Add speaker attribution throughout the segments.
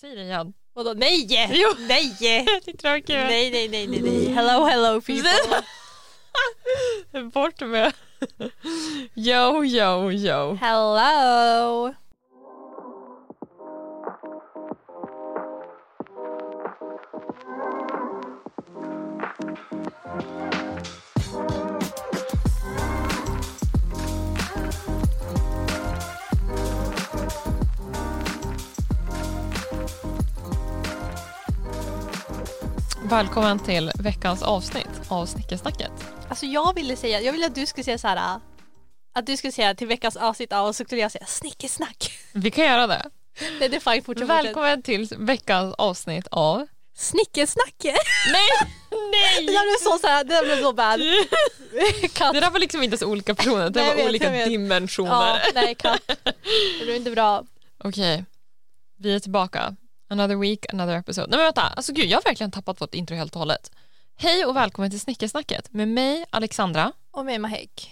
Speaker 1: Säg det igen.
Speaker 2: Vadå nej!
Speaker 1: Jo.
Speaker 2: Nej!
Speaker 1: Jag tyckte det var kul.
Speaker 2: Nej, nej, nej, nej, nej. Hello, hello people.
Speaker 1: Bort med. Yo, yo, yo.
Speaker 2: Hello!
Speaker 1: Välkommen till veckans avsnitt av Snickersnacket.
Speaker 2: Alltså jag ville säga, jag ville att du skulle säga så här. Att du skulle säga till veckans avsnitt av och så skulle jag säga snickesnack.
Speaker 1: Vi kan göra det.
Speaker 2: Nej det är fine, fortsätt. fortsätt.
Speaker 1: Välkommen till veckans avsnitt av...
Speaker 2: Snickesnack!
Speaker 1: Nej! Nej!
Speaker 2: Jag blev så såhär, det där blev så bad.
Speaker 1: Det
Speaker 2: Katt.
Speaker 1: där var liksom inte så olika personer, det
Speaker 2: Nej, jag
Speaker 1: var
Speaker 2: vet,
Speaker 1: olika
Speaker 2: jag vet.
Speaker 1: dimensioner.
Speaker 2: Ja, nej katt. Det blev inte bra.
Speaker 1: Okej, vi är tillbaka. Another week, another episode. Nej men vänta, alltså gud jag har verkligen tappat vårt intro helt och hållet. Hej och välkommen till Snickersnacket med mig Alexandra.
Speaker 2: Och med Mahek.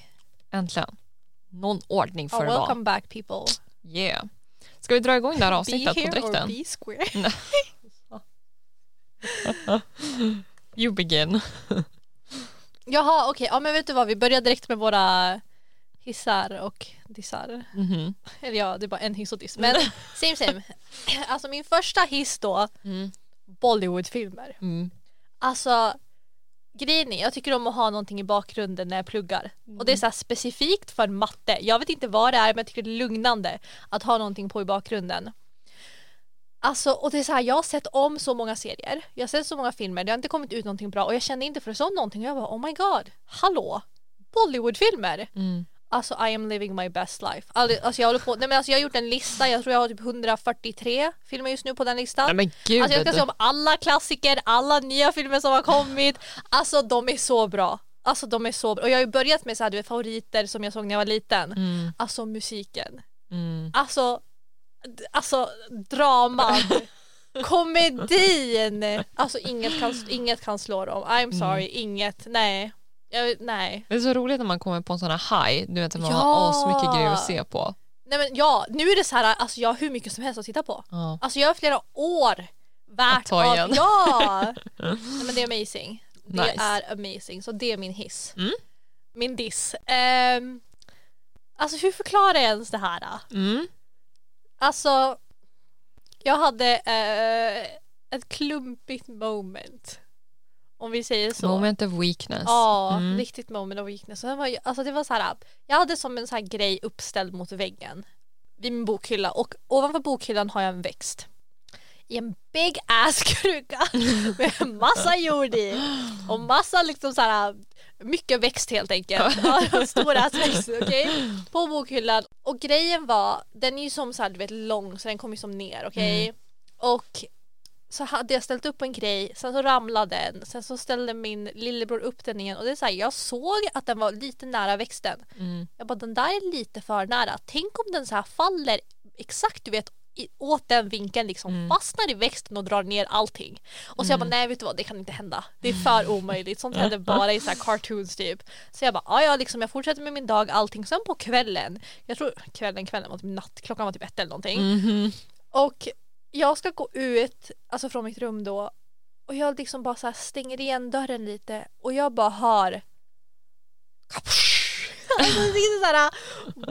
Speaker 1: Äntligen. Någon ordning
Speaker 2: Ja,
Speaker 1: får det vara.
Speaker 2: welcome back people.
Speaker 1: Yeah. Ska vi dra igång det här
Speaker 2: Be
Speaker 1: avsnittet på
Speaker 2: here or
Speaker 1: direkten?
Speaker 2: be square.
Speaker 1: You begin.
Speaker 2: Jaha okej, ja men vet du vad vi börjar direkt med våra hissar och dissar.
Speaker 1: Mhm.
Speaker 2: Eller ja, det är bara en hiss och diss. Men same same. Alltså min första hiss då,
Speaker 1: Mm.
Speaker 2: Bollywoodfilmer.
Speaker 1: Mm.
Speaker 2: Alltså grejen är, jag tycker om att ha någonting i bakgrunden när jag pluggar. Och det är så här specifikt för matte. Jag vet inte vad det är men jag tycker det är lugnande att ha någonting på i bakgrunden. Alltså och det är så här, jag har sett om så många serier, jag har sett så många filmer, det har inte kommit ut någonting bra och jag kände inte för det sånt någonting och jag bara oh my god, hallå! Bollywoodfilmer!
Speaker 1: Mm.
Speaker 2: Alltså I am living my best life. Aldrig- Alltså jag håller på, nej men alltså jag har gjort en lista, jag tror jag har typ 143 filmer just nu på den listan.
Speaker 1: Nej men gud.
Speaker 2: Alltså jag ska se om alla klassiker, alla nya filmer som har kommit. Alltså de är så bra. Alltså de är så bra. Och jag har ju börjat med så här, du vet, favoriter som jag såg när jag var liten.
Speaker 1: mm.
Speaker 2: Alltså musiken.
Speaker 1: Mm.
Speaker 2: Alltså, d- alltså draman. Komedin. Alltså inget kan, inget kan slå dem. I'm sorry, inget. Nej. Jag, nej.
Speaker 1: Det är så roligt när man kommer på en sån här high, du vet när man
Speaker 2: Ja.
Speaker 1: har asmycket grejer att se på.
Speaker 2: Nej men ja, nu är det så här, alltså jag har hur mycket som helst att titta på.
Speaker 1: Ja.
Speaker 2: Alltså jag har flera år värt
Speaker 1: Att ta igen.
Speaker 2: av... Ja! Nej, men det är amazing. Det
Speaker 1: Nice.
Speaker 2: är amazing. Så det är min hiss.
Speaker 1: Mm.
Speaker 2: Min diss. Ehm, alltså hur förklarar jag ens det här? Då?
Speaker 1: Mm.
Speaker 2: Alltså, jag hade eh, ett klumpigt moment. Om vi säger så.
Speaker 1: Moment of weakness.
Speaker 2: Ja,
Speaker 1: Mm.
Speaker 2: riktigt moment of weakness. Och det var, ju- alltså det var så här, jag hade som en så här grej uppställd mot väggen vid min bokhylla och ovanför bokhyllan har jag en växt i en big ass kruka med massa jord i och massa liksom så här mycket växt helt enkelt. Ja, stor ass växt, okej? På bokhyllan. Och grejen var, den är ju som så här, du vet lång så den kommer ju som ner, okej? Och så hade jag ställt upp en grej, sen så ramlade den, sen så ställde min lillebror upp den igen och det är så här, jag såg att den var lite nära växten.
Speaker 1: Mm.
Speaker 2: Jag bara den där är lite för nära, tänk om den så här faller exakt du vet i, åt den vinkeln liksom, fastnar i växten och drar ner allting. Och så jag bara nej vet du vad det kan inte hända, det är för omöjligt, sånt händer bara i så här cartoons typ. Så jag bara ja ja liksom jag fortsätter med min dag allting, sen på kvällen, jag tror kvällen kvällen var typ natt, klockan var typ ett eller någonting.
Speaker 1: Mhm.
Speaker 2: Och jag ska gå ut, alltså från mitt rum då och jag liksom bara så här stänger igen dörren lite och jag bara hör Kapusch! alltså det är så här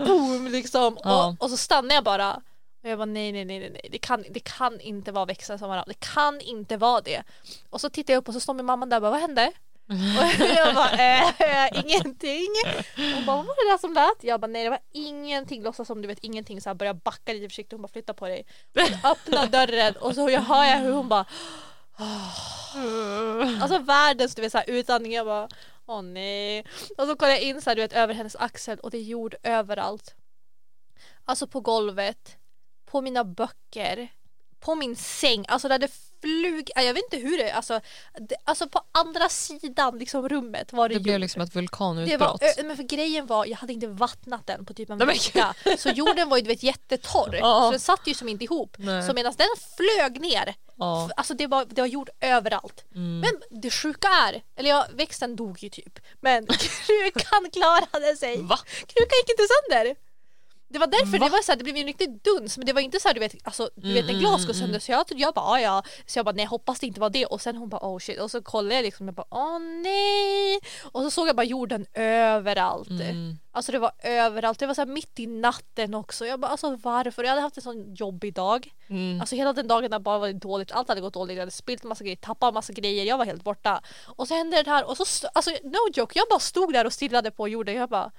Speaker 2: boom liksom
Speaker 1: Ja.
Speaker 2: och, och så stannar jag bara och jag bara nej nej nej nej, nej. Det, kan, det kan inte vara växlar som varandra, det kan inte vara det och så tittar jag upp och så står min mamma där och bara vad hände? Och jag bara eh, ingenting. Hon bara vad var det där som lät? Jag bara nej det var ingenting. Låtsas som du vet ingenting så här börjar backa lite försiktigt. Hon bara flytta på dig. Hon öppnar dörren och så jag hör jag hur hon bara alltså världens du vet så här utandning. Jag bara åh nej. Och så kollar jag in så här du vet över hennes axel och det är jord överallt. Alltså på golvet, på mina böcker, på min säng. Alltså där det flug, ja, jag vet inte hur det, alltså, det, alltså på andra sidan liksom rummet var det,
Speaker 1: Det blev
Speaker 2: jord.
Speaker 1: liksom ett
Speaker 2: Det var,
Speaker 1: vulkanutbrott.
Speaker 2: ö, men för grejen var, jag hade inte vattnat den på typ en
Speaker 1: Nej, men
Speaker 2: vecka. Så jorden var ju du vet jättetorr.
Speaker 1: Ja.
Speaker 2: Så den satt ju som inte ihop.
Speaker 1: Nej.
Speaker 2: Så medan den flög ner,
Speaker 1: Ja. mm.
Speaker 2: f- alltså det var, det var jord överallt. Men det sjuka är, eller ja, växten dog ju typ. Men krukan klarade sig.
Speaker 1: Va?
Speaker 2: Krukan gick inte sönder. Det var därför
Speaker 1: Va?
Speaker 2: det var så här, det blev en riktig duns men det var inte så här, du vet, alltså, du
Speaker 1: Mm,
Speaker 2: vet när
Speaker 1: mm,
Speaker 2: glas
Speaker 1: mm,
Speaker 2: går sönder så jag, jag bara "Ah, ja, så jag bara nej hoppas det inte var det och sen hon bara oh shit och så kollade jag liksom jag bara åh nej och så såg jag bara jorden överallt.
Speaker 1: Mm.
Speaker 2: Alltså det var överallt, det var så här mitt i natten också. Jag bara alltså varför? Jag hade haft en sån jobbig dag.
Speaker 1: Mm.
Speaker 2: Alltså hela den dagen har bara varit dåligt, allt hade gått dåligt, jag hade spilt massa grejer, tappat massa grejer, jag var helt borta. Och så hände det här och så, st- alltså no joke, jag bara stod där och stirrade på jorden, jag bara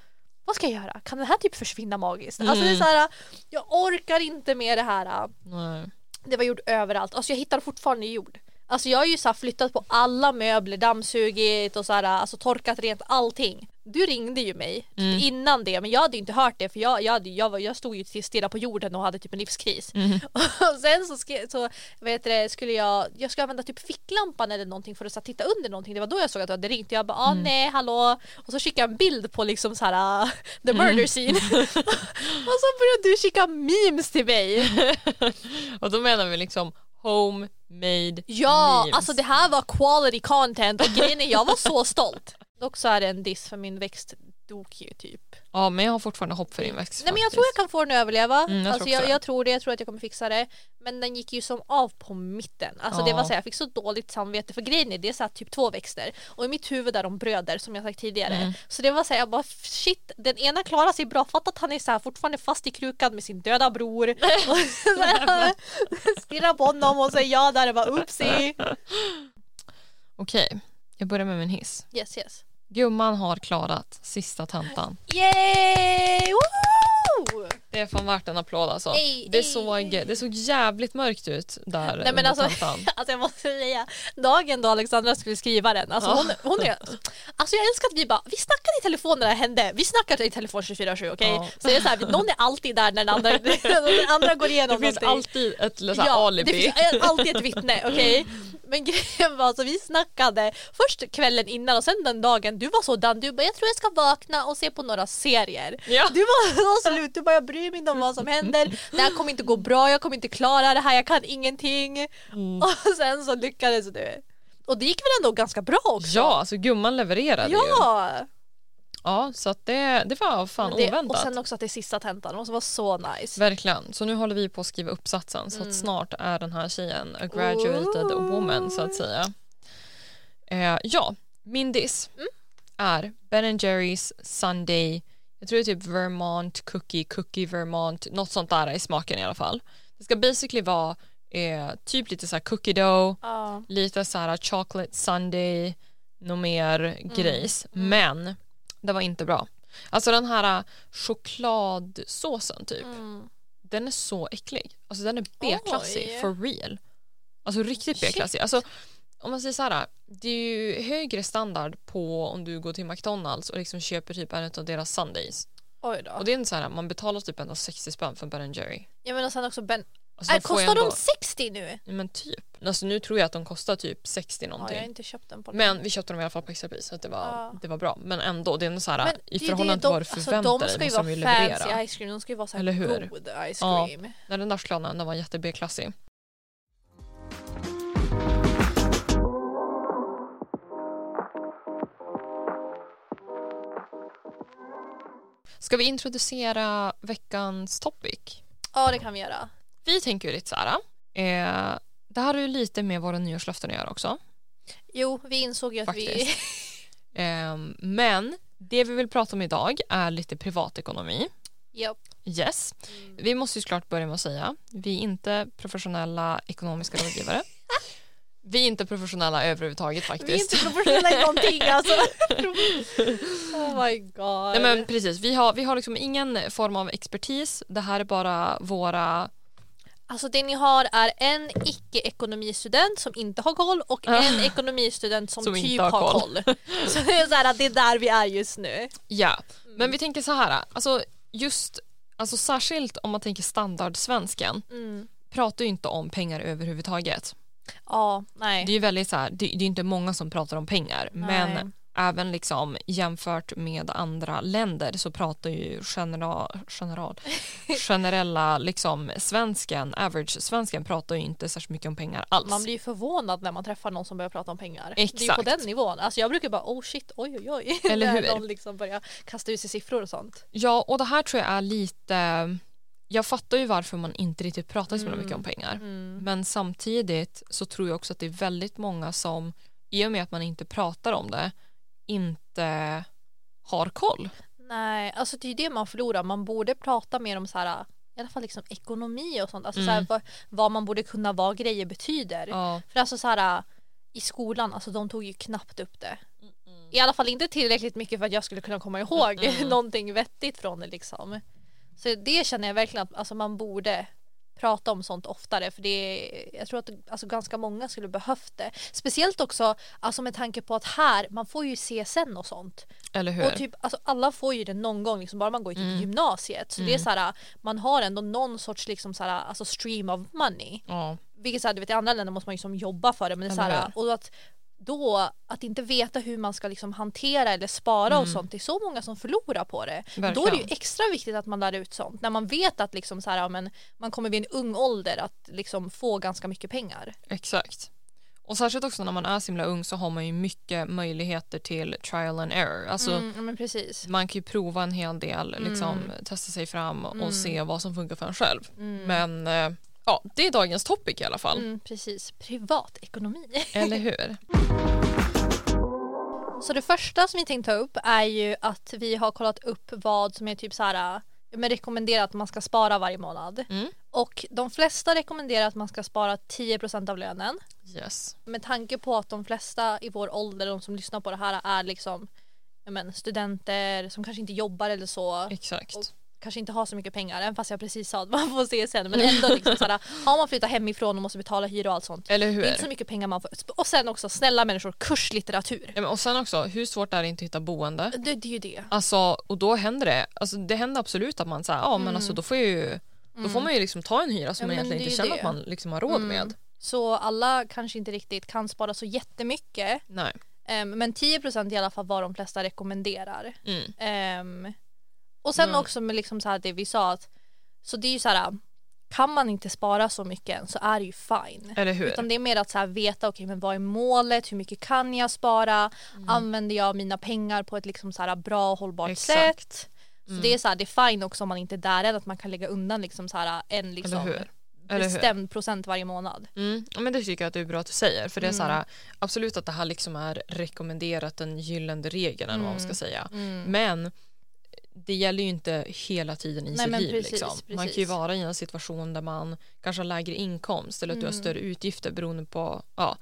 Speaker 2: vad ska jag göra? Kan den här typ försvinna magiskt? Alltså det är
Speaker 1: Mm.
Speaker 2: så här, jag orkar inte med det här.
Speaker 1: Nej.
Speaker 2: Det var jord överallt, alltså jag hittar fortfarande jord. Alltså jag har ju så här flyttat på alla möbler, dammsugit och så här, alltså torkat rent allting. Du ringde ju mig typ
Speaker 1: Mm.
Speaker 2: innan det men jag hade ju inte hört det för jag, jag, hade, jag, var, jag stod ju och stirrade på jorden och hade typ en livskris.
Speaker 1: Mm.
Speaker 2: Och sen så, skrev, så vet du, skulle jag, jag skulle använda typ ficklampan eller någonting för att så här, titta under någonting. Det var då jag såg att du hade ringt. Jag bara ah, nej hallå och så skickade jag en bild på liksom så här ah, the murder scene. och så började du skicka memes till mig.
Speaker 1: Och då menar vi liksom homemade
Speaker 2: Ja
Speaker 1: memes.
Speaker 2: alltså det här var quality content och grejen är jag var så stolt. Dock så är det en diss för min växt dog ju typ.
Speaker 1: Ja, men jag har fortfarande hopp för din växt.
Speaker 2: Nej men jag
Speaker 1: faktiskt.
Speaker 2: tror jag kan få den att överleva.
Speaker 1: Mm, jag tror
Speaker 2: alltså,
Speaker 1: också
Speaker 2: jag,
Speaker 1: det.
Speaker 2: jag tror det, jag tror att jag kommer fixa det. Men den gick ju som av på mitten. Alltså det
Speaker 1: Ja.
Speaker 2: var så här, jag fick så dåligt samvete för grejen är det är så här, typ två växter och i mitt huvud är de bröder som jag sagt tidigare.
Speaker 1: Mm.
Speaker 2: Så det var så här, jag bara shit, den ena klarar sig bra. Fatta att han är så här, fortfarande fast i krukan med sin döda bror. Och så här, Stirrar på honom och säger ja där och bara oopsie.
Speaker 1: Okej, jag börjar med min hiss.
Speaker 2: Yes yes.
Speaker 1: Gumman har klarat sista tentan.
Speaker 2: Yay! Woohoo!
Speaker 1: Det är fan värt en applåd alltså.
Speaker 2: Ey,
Speaker 1: det,
Speaker 2: ey,
Speaker 1: såg,
Speaker 2: ey.
Speaker 1: det såg jävligt mörkt ut där
Speaker 2: Nej men
Speaker 1: under
Speaker 2: alltså,
Speaker 1: tentan.
Speaker 2: alltså jag måste säga, dagen då Alexandra skulle skriva den, alltså
Speaker 1: Ja.
Speaker 2: hon, hon är, alltså jag älskar att vi bara, vi snackade i telefon när det här hände, vi snackar i telefon 24-7 okej?
Speaker 1: Ja.
Speaker 2: Så det är så här, någon är alltid där när den andra, den andra går igenom
Speaker 1: Det finns
Speaker 2: någonting.
Speaker 1: alltid ett så här, alibi.
Speaker 2: alltså, Det finns alltid ett vittne, okej? Men grejen var alltså vi snackade först kvällen innan och sen den dagen, du var sådan, du bara jag tror jag ska vakna och se på några serier.
Speaker 1: Ja.
Speaker 2: Du var så slut, du bara jag bryr mig inte om vad som händer, det här kommer inte gå bra, jag kommer inte klara det här, jag kan ingenting.
Speaker 1: Mm.
Speaker 2: Och sen så lyckades du. Och det gick väl ändå ganska bra också?
Speaker 1: Ja, alltså gumman levererade ju.
Speaker 2: Ja!
Speaker 1: Ja, så att det, det var fan
Speaker 2: Men det, och
Speaker 1: oväntat.
Speaker 2: sen också att det är sista tentan, och så var så nice.
Speaker 1: Verkligen. Så nu håller vi på att skriva uppsatsen så att snart är den här tjejen a graduated
Speaker 2: Ooh.
Speaker 1: woman så att säga. Eh, ja, min diss är Ben Jerrys Sunday, jag tror det är typ Vermont cookie, cookie Vermont, något sånt där i smaken i alla fall. Det ska basically vara eh, typ lite så här cookie dough,
Speaker 2: Ja.
Speaker 1: lite så här chocolate sunday, något mer grejs. Men det var inte bra. Alltså den här eh, chokladsåsen typ
Speaker 2: Mm.
Speaker 1: den är så äcklig. Alltså den är B-klassig
Speaker 2: Oj.
Speaker 1: for real. Alltså riktigt
Speaker 2: Shit.
Speaker 1: B-klassig. Alltså, om man säger så här, det är ju högre standard på om du går till McDonalds och liksom köper typ en av deras sundays.
Speaker 2: Oj då.
Speaker 1: Och det är inte så här, man betalar typ ändå 60 spänn för Ben Jerry.
Speaker 2: Jag menar sen också Ben,
Speaker 1: Alltså,
Speaker 2: äh,
Speaker 1: de får ju
Speaker 2: kostar de
Speaker 1: ändå-
Speaker 2: 60 nu?
Speaker 1: Ja, Men typ. Alltså, nu tror jag att de kostar typ 60
Speaker 2: Ja, jag har
Speaker 1: någonting.
Speaker 2: inte köpt den på
Speaker 1: Men vi köpte dem i alla fall på extrapris så att det var,
Speaker 2: Ja.
Speaker 1: det var bra. Men ändå, det är ändå så här,
Speaker 2: Men det
Speaker 1: i
Speaker 2: är ju
Speaker 1: förhållande
Speaker 2: det
Speaker 1: till vad du förväntar
Speaker 2: alltså,
Speaker 1: dig
Speaker 2: de
Speaker 1: måste
Speaker 2: ska ju
Speaker 1: de ju
Speaker 2: vara fancy
Speaker 1: leverera.
Speaker 2: ice cream, de ska ju vara så
Speaker 1: Eller hur?
Speaker 2: här god ice
Speaker 1: Ja.
Speaker 2: cream.
Speaker 1: När den där chokladen den var jätte B-klassig. Ska vi introducera veckans topic?
Speaker 2: Ja det kan vi göra.
Speaker 1: Vi tänker ju lite så här. Eh, det här är ju lite med våra nyårslöften att göra också.
Speaker 2: Jo vi insåg ju att vi...
Speaker 1: Eh, men det vi vill prata om idag är lite privatekonomi.
Speaker 2: Japp.
Speaker 1: Yes. Vi måste ju såklart börja med att säga vi är inte professionella ekonomiska rådgivare. Vi är inte professionella överhuvudtaget
Speaker 2: Vi är
Speaker 1: faktiskt.
Speaker 2: inte professionella i någonting alltså. oh my
Speaker 1: Nej,
Speaker 2: god.
Speaker 1: men precis. Vi har, vi har liksom ingen form av expertis. Det här är bara våra...
Speaker 2: Alltså det ni har är en icke-ekonomistudent som inte har koll och en ekonomistudent som,
Speaker 1: Som inte
Speaker 2: typ
Speaker 1: har
Speaker 2: har
Speaker 1: koll.
Speaker 2: koll. Så det är så här att det är där vi är just nu.
Speaker 1: Ja. Men vi tänker så här. Alltså, just, alltså, särskilt om man tänker standardsvensken
Speaker 2: Mm.
Speaker 1: pratar ju inte om pengar överhuvudtaget.
Speaker 2: Ja, nej.
Speaker 1: Det är ju väldigt så här, det, det är inte många som pratar om pengar
Speaker 2: Nej.
Speaker 1: men även liksom jämfört med andra länder så pratar ju general, general, generella liksom svensken, average svensken pratar ju inte särskilt mycket om pengar alls.
Speaker 2: Man blir ju förvånad när man träffar någon som börjar prata om pengar. Det är ju på
Speaker 1: Exakt.
Speaker 2: den nivån. Alltså jag brukar bara oh shit, oj oj oj.
Speaker 1: Eller
Speaker 2: när
Speaker 1: hur?
Speaker 2: de liksom börjar kasta ut sig siffror och sånt.
Speaker 1: Ja, och det här tror jag är lite... Jag fattar ju varför man inte riktigt pratar så mycket om
Speaker 2: Mm.
Speaker 1: pengar. Men samtidigt så tror jag också att det är väldigt många som i och med att man inte pratar om det inte har koll.
Speaker 2: Nej, alltså det är ju det man förlorar. Man borde prata mer om så här, i alla fall liksom ekonomi och sånt. Alltså
Speaker 1: Mm.
Speaker 2: så här, vad, vad man borde kunna, vad grejer betyder.
Speaker 1: Ja.
Speaker 2: För alltså så här, i skolan, alltså de tog ju knappt upp det. I alla fall inte tillräckligt mycket för att jag skulle kunna komma ihåg någonting vettigt från det liksom. Så det känner jag verkligen att alltså, man borde prata om sånt oftare för det är, jag tror att alltså, ganska många skulle behövt det. Speciellt också alltså, med tanke på att här, man får ju CSN och sånt.
Speaker 1: Eller hur?
Speaker 2: Och typ, alltså, alla får ju det någon gång, liksom, bara man går till gymnasiet. Så det är så här, äh, man har ändå någon sorts liksom, så här, alltså, stream of money.
Speaker 1: ja.
Speaker 2: Vilket så här, du vet, i andra länder måste man ju liksom jobba för det men det är så
Speaker 1: Eller
Speaker 2: här,
Speaker 1: hur?
Speaker 2: och att då att inte veta hur man ska liksom hantera eller spara och sånt, det är så många som förlorar på det. Då är det ju
Speaker 1: Verkligen.
Speaker 2: extra viktigt att man lär ut sånt när man vet att liksom så här, ja, men man kommer vid en ung ålder att liksom få ganska mycket pengar.
Speaker 1: Exakt. Och särskilt också när man är så himla ung så har man ju mycket möjligheter till trial and error. Alltså
Speaker 2: Mm, ja, men precis.
Speaker 1: man kan ju prova en hel del, liksom, testa sig fram
Speaker 2: Mm.
Speaker 1: och se vad som funkar för en själv. Men eh, ja, det är dagens topic i alla fall.
Speaker 2: Mm, precis. Privatekonomi.
Speaker 1: Eller hur?
Speaker 2: Så det första som vi tänkte ta upp är ju att vi har kollat upp vad som är typ så här ja, men rekommenderat att man ska spara varje månad.
Speaker 1: Mm.
Speaker 2: Och de flesta rekommenderar att man ska spara 10% av lönen.
Speaker 1: Yes.
Speaker 2: Med tanke på att de flesta i vår ålder, de som lyssnar på det här, är liksom ja, men, studenter som kanske inte jobbar eller så.
Speaker 1: Exakt.
Speaker 2: Och kanske inte har så mycket pengar, även fast jag precis sa att man får se sen. Men ändå, liksom, så här, har man flyttat hemifrån och måste betala hyra och allt sånt.
Speaker 1: Eller
Speaker 2: Det
Speaker 1: hur?
Speaker 2: är inte så mycket pengar man får. Och sen också, snälla människor, kurslitteratur.
Speaker 1: Ja, men och sen också, hur svårt är det inte att hitta boende?
Speaker 2: Det, det är ju det.
Speaker 1: Alltså, och då händer det, alltså, det händer absolut att man säger, ja men alltså då får jag ju då får man ju liksom ta en hyra som
Speaker 2: Mm. Ja,
Speaker 1: man egentligen
Speaker 2: men det är
Speaker 1: inte
Speaker 2: ju
Speaker 1: känner
Speaker 2: det. Mm.
Speaker 1: att man liksom har råd med.
Speaker 2: Så alla kanske inte riktigt kan spara så jättemycket.
Speaker 1: Nej.
Speaker 2: Um, men 10% i alla fall vad de flesta rekommenderar.
Speaker 1: Mm.
Speaker 2: Ehm, och sen också med liksom så här det vi sa att så det är ju så här kan man inte spara så mycket än så är det ju fine.
Speaker 1: Eller hur?
Speaker 2: Utan det är mer att så här veta okej men vad är målet, hur mycket kan jag spara,
Speaker 1: Mm.
Speaker 2: använder jag mina pengar på ett liksom så här bra och hållbart
Speaker 1: Exakt. Mm.
Speaker 2: sätt. Så det är så här, det är fine också om man inte är där än att man kan lägga undan liksom så här en
Speaker 1: Eller
Speaker 2: liksom
Speaker 1: hur? Eller hur?
Speaker 2: bestämd procent varje månad.
Speaker 1: Mm, ja, men det tycker jag att det är bra att du säger. För det är så
Speaker 2: Mm.
Speaker 1: här, absolut att det här liksom är rekommenderat den gyllene regeln eller vad man
Speaker 2: Mm.
Speaker 1: ska säga. Men det gäller ju inte hela tiden i
Speaker 2: Nej,
Speaker 1: sitt
Speaker 2: men
Speaker 1: liv.
Speaker 2: precis,
Speaker 1: liksom. Man kan ju
Speaker 2: precis.
Speaker 1: vara i en situation där man kanske har lägre inkomst eller att
Speaker 2: Mm.
Speaker 1: du har större utgifter beroende på ja,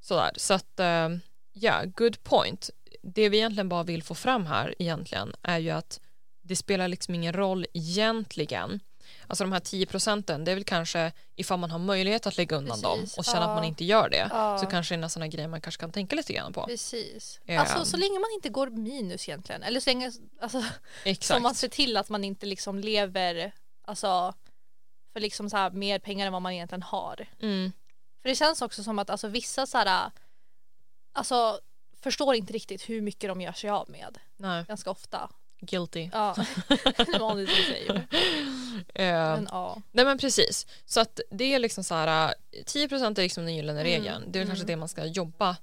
Speaker 1: sådär. Så att eh, ja, good point. Det vi egentligen bara vill få fram här egentligen är ju att det spelar liksom ingen roll egentligen. Alltså de här 10 procenten, det är väl kanske ifall man har möjlighet att lägga undan
Speaker 2: Precis,
Speaker 1: dem och känna att man
Speaker 2: ja.
Speaker 1: inte gör det
Speaker 2: Ja.
Speaker 1: så kanske det är en sån här grej man kanske kan tänka lite grann på.
Speaker 2: Precis.
Speaker 1: Ehm.
Speaker 2: Alltså så länge man inte går minus egentligen eller så länge alltså
Speaker 1: Exakt.
Speaker 2: Så man ser till att man inte liksom lever alltså, för liksom så här, mer pengar än vad man egentligen har.
Speaker 1: Mm.
Speaker 2: För det känns också som att alltså, vissa så här, alltså, förstår inte riktigt hur mycket de gör sig av med.
Speaker 1: Nej,
Speaker 2: Ganska ofta.
Speaker 1: guilty.
Speaker 2: Ja, vanligtvis säger vi.
Speaker 1: Ehm,
Speaker 2: Men ja.
Speaker 1: Nej men precis. Så att det är liksom så här, eh, 10 procent är liksom den
Speaker 2: Mm.
Speaker 1: gyllene regeln. Det är kanske det man ska jobba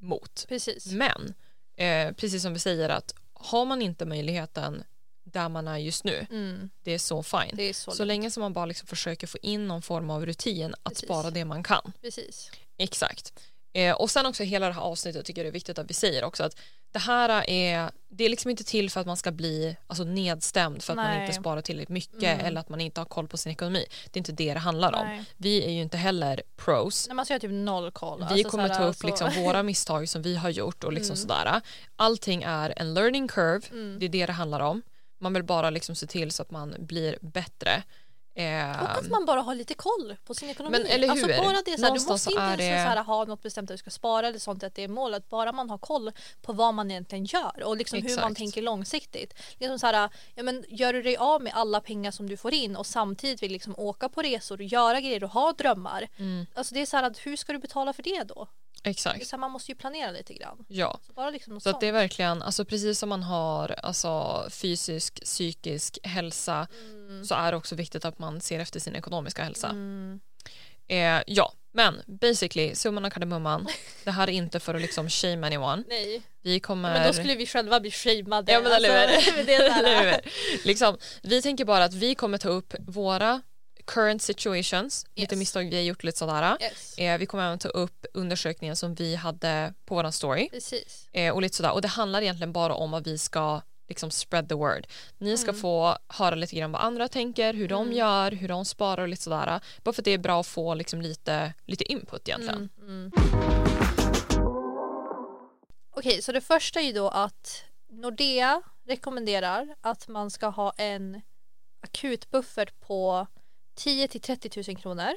Speaker 1: mot.
Speaker 2: Precis.
Speaker 1: Men eh, precis som vi säger att har man inte möjligheten där man är just nu,
Speaker 2: Mm,
Speaker 1: det är så fine.
Speaker 2: det är så,
Speaker 1: Så länge som man bara liksom försöker få in någon form av rutin att
Speaker 2: Precis.
Speaker 1: spara det man kan.
Speaker 2: Precis.
Speaker 1: Exakt. Eh, och sen också hela det här avsnittet tycker jag det är viktigt att vi säger också att det här är, det är liksom inte till för att man ska bli alltså, nedstämd för att man
Speaker 2: Nej.
Speaker 1: inte sparar tillräckligt mycket
Speaker 2: Mm.
Speaker 1: eller att man inte har koll på sin ekonomi. Det är inte det det handlar om.
Speaker 2: Nej.
Speaker 1: Vi är ju inte heller pros.
Speaker 2: När man ser typ noll koll.
Speaker 1: Vi
Speaker 2: alltså,
Speaker 1: kommer
Speaker 2: så Mm.
Speaker 1: ta
Speaker 2: här,
Speaker 1: upp
Speaker 2: alltså-
Speaker 1: liksom våra misstag som vi har gjort och liksom sådär. Allting är en learning curve,
Speaker 2: Mm.
Speaker 1: det är det det handlar om. Man vill bara liksom se till så att man blir bättre. Eh,
Speaker 2: Och att man bara har lite koll på sin ekonomi.
Speaker 1: Men, eller
Speaker 2: Alltså
Speaker 1: hur?
Speaker 2: bara det, så här, du
Speaker 1: Någonstans
Speaker 2: måste inte
Speaker 1: är
Speaker 2: ens
Speaker 1: det-
Speaker 2: så här, ha något bestämt att du ska spara eller sånt, att det är målet. Bara man har koll på vad man egentligen gör och liksom hur man
Speaker 1: Exakt.
Speaker 2: tänker långsiktigt. Liksom så här, ja, men, gör du dig av med alla pengar som du får in och samtidigt vill
Speaker 1: Mm.
Speaker 2: liksom åka på resor och göra grejer och ha drömmar. Alltså det är så här, att hur ska du betala för det då?
Speaker 1: Exakt.
Speaker 2: Så man måste ju planera lite grann.
Speaker 1: Ja.
Speaker 2: Så bara liksom något
Speaker 1: Så att
Speaker 2: sånt.
Speaker 1: det är verkligen, alltså precis som man har alltså, fysisk, psykisk hälsa
Speaker 2: Mm.
Speaker 1: så är det också viktigt att man ser efter sin ekonomiska hälsa.
Speaker 2: Mm.
Speaker 1: Eh, ja, men basically, summan av kardemumman, det här är inte för att liksom shame anyone.
Speaker 2: Nej,
Speaker 1: Vi
Speaker 2: Ja,
Speaker 1: kommer...
Speaker 2: men då skulle vi själva bli shameade.
Speaker 1: Ja, men eller hur?
Speaker 2: men det är så
Speaker 1: Eller
Speaker 2: här.
Speaker 1: hur? liksom, vi tänker bara att vi kommer ta upp våra current situations, lite
Speaker 2: Yes.
Speaker 1: misstag vi har gjort lite sådär.
Speaker 2: Yes.
Speaker 1: Eh, vi kommer även ta upp undersökningen som vi hade på våran story.
Speaker 2: Precis.
Speaker 1: Eh, och lite sådär. Och det handlar egentligen bara om att vi ska liksom spread the word. Ni ska
Speaker 2: Mm.
Speaker 1: få höra lite grann vad andra tänker, hur de
Speaker 2: Mm.
Speaker 1: gör, hur de sparar och lite sådär. Bara för att det är bra att få liksom lite, lite input egentligen.
Speaker 2: Mm. Mm. Okej, så det första är ju då att Nordea rekommenderar att man ska ha en akutbuffert på 10 till 30 000 kronor.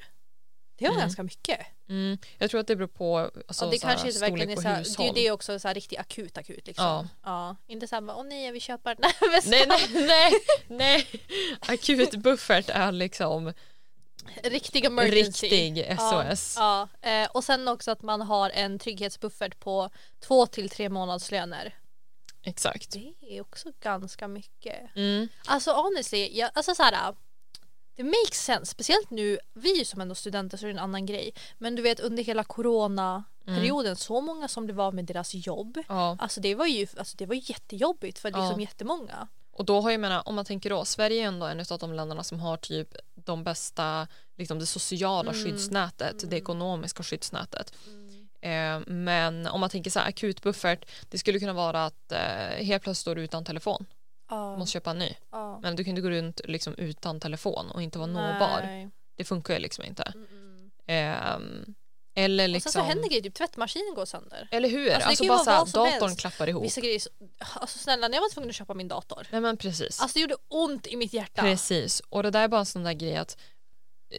Speaker 2: Det är
Speaker 1: Mm.
Speaker 2: ganska mycket.
Speaker 1: Mm. Jag tror att det beror på alltså,
Speaker 2: ja, det
Speaker 1: såhär,
Speaker 2: kanske inte verkligen är
Speaker 1: storlek
Speaker 2: så
Speaker 1: på
Speaker 2: här, det är
Speaker 1: hushåll.
Speaker 2: ju det också så här riktigt akut akut liksom.
Speaker 1: Ja.
Speaker 2: Ja. Inte så här bara, åh nej jag vill köpa den här väskan.
Speaker 1: Nej, nej, nej, nej. Akut buffert är liksom
Speaker 2: Riktig emergency.
Speaker 1: riktig
Speaker 2: Ja,
Speaker 1: SOS.
Speaker 2: ja. Eh, och sen också att man har en trygghetsbuffert på två till tre månadslöner.
Speaker 1: Exakt.
Speaker 2: Det är också ganska mycket.
Speaker 1: Mm.
Speaker 2: Alltså honestly, jag, alltså så här. Det makes sense, speciellt nu, vi är ju som ändå studenter så är det en annan grej. Men du vet under hela coronaperioden, så många som blev av med deras jobb.
Speaker 1: Ja.
Speaker 2: Alltså det var ju alltså, det var jättejobbigt för
Speaker 1: Ja.
Speaker 2: liksom jättemånga.
Speaker 1: Och då har jag menar, om man tänker då, Sverige är ändå en av de länderna som har typ de bästa, liksom det sociala
Speaker 2: Mm.
Speaker 1: skyddsnätet, det
Speaker 2: Mm.
Speaker 1: ekonomiska skyddsnätet. Eh, men om man tänker så här akutbuffert, det skulle kunna vara att eh, helt plötsligt står du utan telefon,
Speaker 2: Ja,
Speaker 1: måste köpa en ny.
Speaker 2: ja.
Speaker 1: Men du kan inte gå runt liksom utan telefon och inte vara nåbar.
Speaker 2: Nej.
Speaker 1: Det funkar ju liksom inte.
Speaker 2: Mm, mm.
Speaker 1: Eh, eller
Speaker 2: Och
Speaker 1: liksom...
Speaker 2: sen så händer grejer, typ tvättmaskinen går sönder.
Speaker 1: Eller hur? Alltså,
Speaker 2: Alltså, det kan ju
Speaker 1: bara
Speaker 2: vara
Speaker 1: så här,
Speaker 2: vad som
Speaker 1: datorn
Speaker 2: helst.
Speaker 1: klappar ihop.
Speaker 2: Vissa grejer, är så- alltså snälla när jag var tvungen att köpa min dator.
Speaker 1: Nej men precis.
Speaker 2: Alltså det gjorde ont i mitt hjärta.
Speaker 1: Precis, och det där är bara en sån där grej att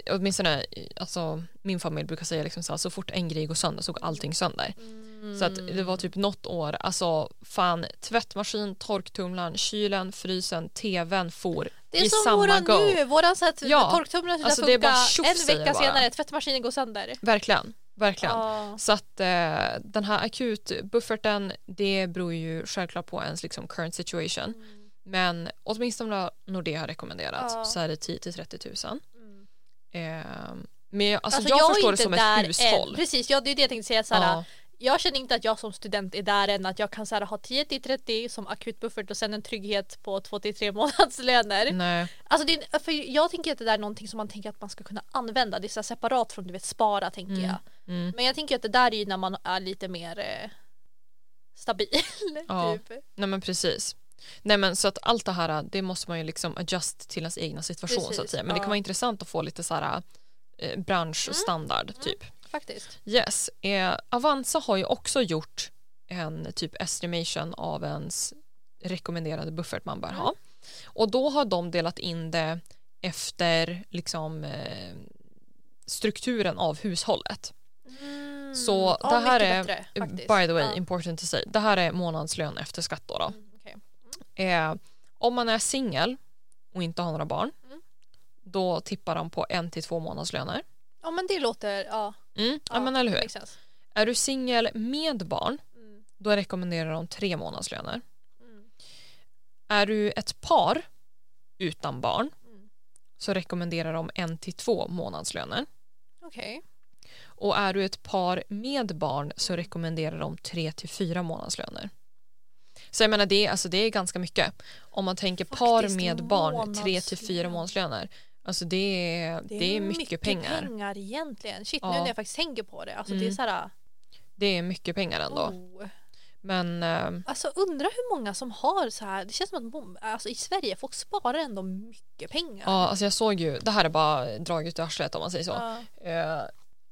Speaker 1: eh, åtminstone alltså, min familj brukar säga liksom så, här, så fort en grej går sönder så går allting sönder.
Speaker 2: Mm.
Speaker 1: Så att det var typ något år, alltså fan tvättmaskin, torktumlaren, kylen, frysen, tvn for
Speaker 2: det är
Speaker 1: i
Speaker 2: som
Speaker 1: samma
Speaker 2: våran
Speaker 1: go.
Speaker 2: nu, våran så att
Speaker 1: Ja.
Speaker 2: torktumlaren skulle
Speaker 1: Alltså, det är
Speaker 2: funka
Speaker 1: bara tjoff,
Speaker 2: en
Speaker 1: säger
Speaker 2: vecka
Speaker 1: jag bara.
Speaker 2: senare, tvättmaskinen går sönder.
Speaker 1: Verkligen, verkligen.
Speaker 2: Ja.
Speaker 1: Så att eh, den här akutbufferten det beror ju självklart på ens liksom, current situation.
Speaker 2: Mm.
Speaker 1: Men åtminstone Nordea har rekommenderat
Speaker 2: Ja.
Speaker 1: så är det 10 till 30 000.
Speaker 2: Mm.
Speaker 1: Eh, men jag, alltså,
Speaker 2: Alltså,
Speaker 1: jag,
Speaker 2: är
Speaker 1: förstår det
Speaker 2: inte
Speaker 1: som
Speaker 2: där
Speaker 1: ett
Speaker 2: än. äh.
Speaker 1: hushåll.
Speaker 2: Precis, ja, det är det jag tänkte säga. Såhär,
Speaker 1: Ja.
Speaker 2: Jag känner inte att jag som student är där än att jag kan såhär, ha 10-30 som akutbuffert och sen en trygghet på 2-3 månadslöner.
Speaker 1: Nej.
Speaker 2: Alltså det är, för jag tänker att det där är någonting som man tänker att man ska kunna använda. Det är så här separat från du vet spara tänker
Speaker 1: Mm.
Speaker 2: jag.
Speaker 1: Mm.
Speaker 2: Men jag tänker att det där är ju när man är lite mer eh, stabil.
Speaker 1: Ja.
Speaker 2: typ.
Speaker 1: Nej men precis. Nej men så att allt det här äh, det måste man ju liksom adjust till ens egna situation så att
Speaker 2: Precis,
Speaker 1: säga. Men det kan
Speaker 2: ja.
Speaker 1: vara intressant att få lite så här eh, branschstandard
Speaker 2: Mm.
Speaker 1: typ.
Speaker 2: Faktiskt.
Speaker 1: Yes. Eh, Avanza har ju också gjort en typ estimation av ens rekommenderade buffert man bör
Speaker 2: Mm.
Speaker 1: ha. Och då har de delat in det efter liksom eh, strukturen av hushållet. Så
Speaker 2: Mm, ja,
Speaker 1: det här
Speaker 2: mycket
Speaker 1: är,
Speaker 2: bättre, faktiskt.
Speaker 1: By the way,
Speaker 2: Ja.
Speaker 1: important to say, det här är månadslön efter skatt då. då.
Speaker 2: Mm, okej.
Speaker 1: Eh, om man är singel och inte har några barn
Speaker 2: Mm.
Speaker 1: då tippar de på en till två månadslöner.
Speaker 2: Ja men det låter, ja.
Speaker 1: Mm. Ja,
Speaker 2: ja,
Speaker 1: men eller hur.
Speaker 2: makes sense.
Speaker 1: Är du singel med barn
Speaker 2: Mm,
Speaker 1: då rekommenderar de tre månadslöner.
Speaker 2: mm,
Speaker 1: Är du ett par utan barn
Speaker 2: mm.
Speaker 1: så rekommenderar de en till två månadslöner.
Speaker 2: Okej.
Speaker 1: Och är du ett par med barn så rekommenderar de tre till fyra månadslöner. Så jag menar det, alltså det är ganska mycket. Om man tänker par
Speaker 2: Faktiskt,
Speaker 1: med barn, tre till fyra
Speaker 2: månadslön.
Speaker 1: månadslöner. Alltså det är, det är, mycket, pengar.
Speaker 2: pengar egentligen. Shit
Speaker 1: Ja.
Speaker 2: nu när jag faktiskt tänker på det. Alltså det är
Speaker 1: Mm.
Speaker 2: såhär,
Speaker 1: Det är mycket pengar ändå.
Speaker 2: oh.
Speaker 1: Men eh,
Speaker 2: Alltså undrar hur många som har så här. Det känns som att mom- alltså, i Sverige folk sparar ändå mycket pengar.
Speaker 1: ja, alltså jag såg ju, det här är bara draget ur arslet om man säger så.
Speaker 2: Ja.
Speaker 1: Eh,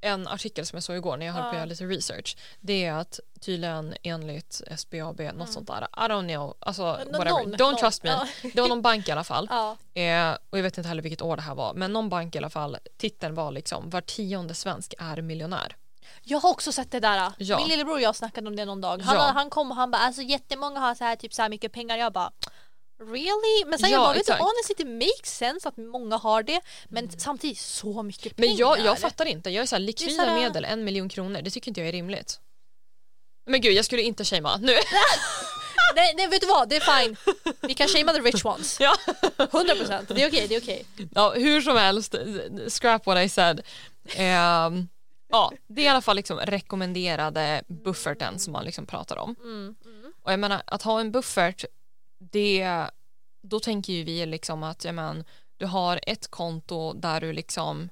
Speaker 1: en artikel som jag såg igår när jag höll på att
Speaker 2: Ja.
Speaker 1: göra lite research. Det är att tydligen enligt SBAB, något
Speaker 2: Mm.
Speaker 1: sånt där, I don't know, alltså
Speaker 2: Nå-
Speaker 1: whatever,
Speaker 2: någon-
Speaker 1: don't
Speaker 2: någon.
Speaker 1: trust me.
Speaker 2: Ja.
Speaker 1: Det var någon bank i alla fall.
Speaker 2: Ja.
Speaker 1: Eh, och jag vet inte heller vilket år det här var, men någon bank i alla fall, titeln var liksom var tionde svensk är miljonär.
Speaker 2: Jag har också sett det där.
Speaker 1: Ja.
Speaker 2: Min lillebror och jag snackade om det någon dag. Han,
Speaker 1: Ja.
Speaker 2: han kom och han bara alltså jättemånga har så här, typ så här mycket pengar. Jag bara really? Men sen
Speaker 1: Ja,
Speaker 2: jag bara, vet du,
Speaker 1: exakt. Mm.
Speaker 2: honestly it makes sense att många har det men samtidigt så mycket pengar.
Speaker 1: Men jag, jag fattar inte, jag är såhär likvida
Speaker 2: såhär-
Speaker 1: medel, en miljon kronor, det tycker inte jag är rimligt. Men gud jag skulle inte shamea nu.
Speaker 2: Nej, nej vet du vad, det är fine. Vi kan shamea the rich ones.
Speaker 1: Ja.
Speaker 2: 100%, det är okej, det är okej.
Speaker 1: ja, hur som helst, scrap what I said. Ehm, ja, det är i alla fall liksom rekommenderade bufferten som man liksom pratar om.
Speaker 2: Mm.
Speaker 1: Och jag menar att ha en buffert, det, då tänker ju vi liksom att jag menar, du har ett konto där du liksom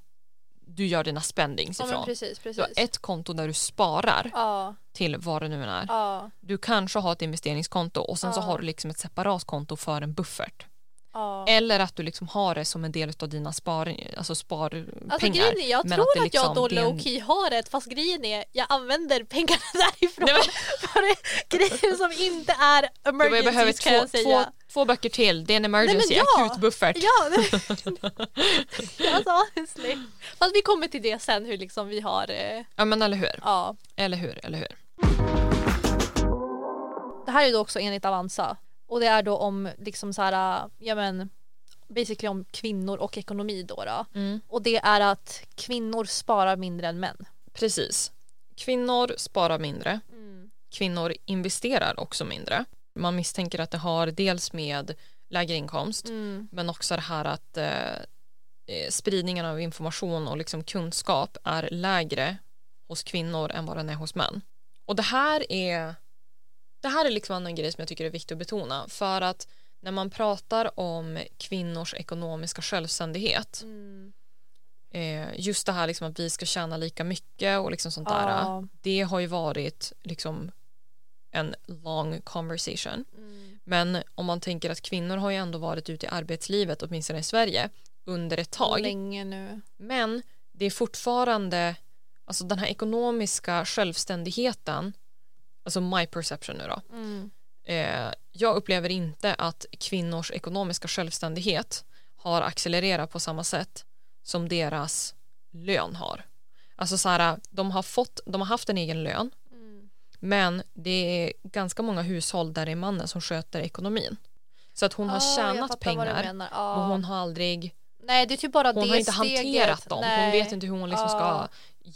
Speaker 1: du gör dina spendings
Speaker 2: Ja men
Speaker 1: ifrån.
Speaker 2: precis,
Speaker 1: Du har
Speaker 2: precis.
Speaker 1: ett konto där du sparar
Speaker 2: Ja,
Speaker 1: till vad det nu än är.
Speaker 2: ja,
Speaker 1: Du kanske har ett investeringskonto och sen så
Speaker 2: Ja.
Speaker 1: har du liksom ett separat konto för en buffert.
Speaker 2: ja.
Speaker 1: Eller att du liksom har det som en del av dina spar, alltså sparpengar.
Speaker 2: Alltså grejen är, jag
Speaker 1: Men
Speaker 2: tror
Speaker 1: att
Speaker 2: att,
Speaker 1: det liksom-
Speaker 2: jag då
Speaker 1: det är en-
Speaker 2: low-key har ett fast grejen är jag använder pengarna därifrån
Speaker 1: Nej, men-
Speaker 2: för grejer som inte är
Speaker 1: Du, jag behöver
Speaker 2: emergencies kan
Speaker 1: två,
Speaker 2: jag
Speaker 1: två,
Speaker 2: säga.
Speaker 1: två böcker till, det är en emergency,
Speaker 2: Nej, men ja.
Speaker 1: akut buffert.
Speaker 2: Ja, det... alltså honestly. Fast vi kommer till det sen hur liksom vi har, eh,
Speaker 1: Ja men eller hur,
Speaker 2: ja.
Speaker 1: eller hur, eller hur.
Speaker 2: Det här är ju då också enligt Avanza och det är då om liksom så här, eh, ja men basically om kvinnor och ekonomi då, då.
Speaker 1: Mm.
Speaker 2: Och det är att kvinnor sparar mindre än män.
Speaker 1: Precis. Kvinnor sparar mindre.
Speaker 2: Mm.
Speaker 1: Kvinnor investerar också mindre. Man misstänker att det har dels med lägre inkomst
Speaker 2: Mm.
Speaker 1: men också det här att eh, eh, spridningen av information och liksom kunskap är lägre hos kvinnor än vad den är hos män. Och det här är det här är liksom en grej som jag tycker är viktig att betona för att när man pratar om kvinnors ekonomiska självständighet
Speaker 2: Mm.
Speaker 1: eh, just det här liksom att vi ska tjäna lika mycket och liksom sånt där
Speaker 2: Ja.
Speaker 1: det har ju varit liksom en long conversation
Speaker 2: Mm.
Speaker 1: men om man tänker att kvinnor har ju ändå varit ute i arbetslivet, åtminstone i Sverige, under ett tag.
Speaker 2: Länge nu.
Speaker 1: Men det är fortfarande, alltså den här ekonomiska självständigheten, alltså my perception nu då,
Speaker 2: Mm.
Speaker 1: eh, jag upplever inte att kvinnors ekonomiska självständighet har accelererat på samma sätt som deras lön har. Alltså så här, de har, fått, de har haft en egen lön,
Speaker 2: Mm.
Speaker 1: men det är ganska många hushåll där det är mannen som sköter ekonomin. Så att hon har
Speaker 2: Ah, jag
Speaker 1: tjänat
Speaker 2: fattar vad du
Speaker 1: pengar
Speaker 2: menar.
Speaker 1: och
Speaker 2: Ah.
Speaker 1: hon har aldrig,
Speaker 2: Nej det är typ bara
Speaker 1: hon
Speaker 2: det
Speaker 1: har inte
Speaker 2: steget.
Speaker 1: hanterat dem. Hon
Speaker 2: Nej.
Speaker 1: vet inte hur hon liksom ska
Speaker 2: Ah.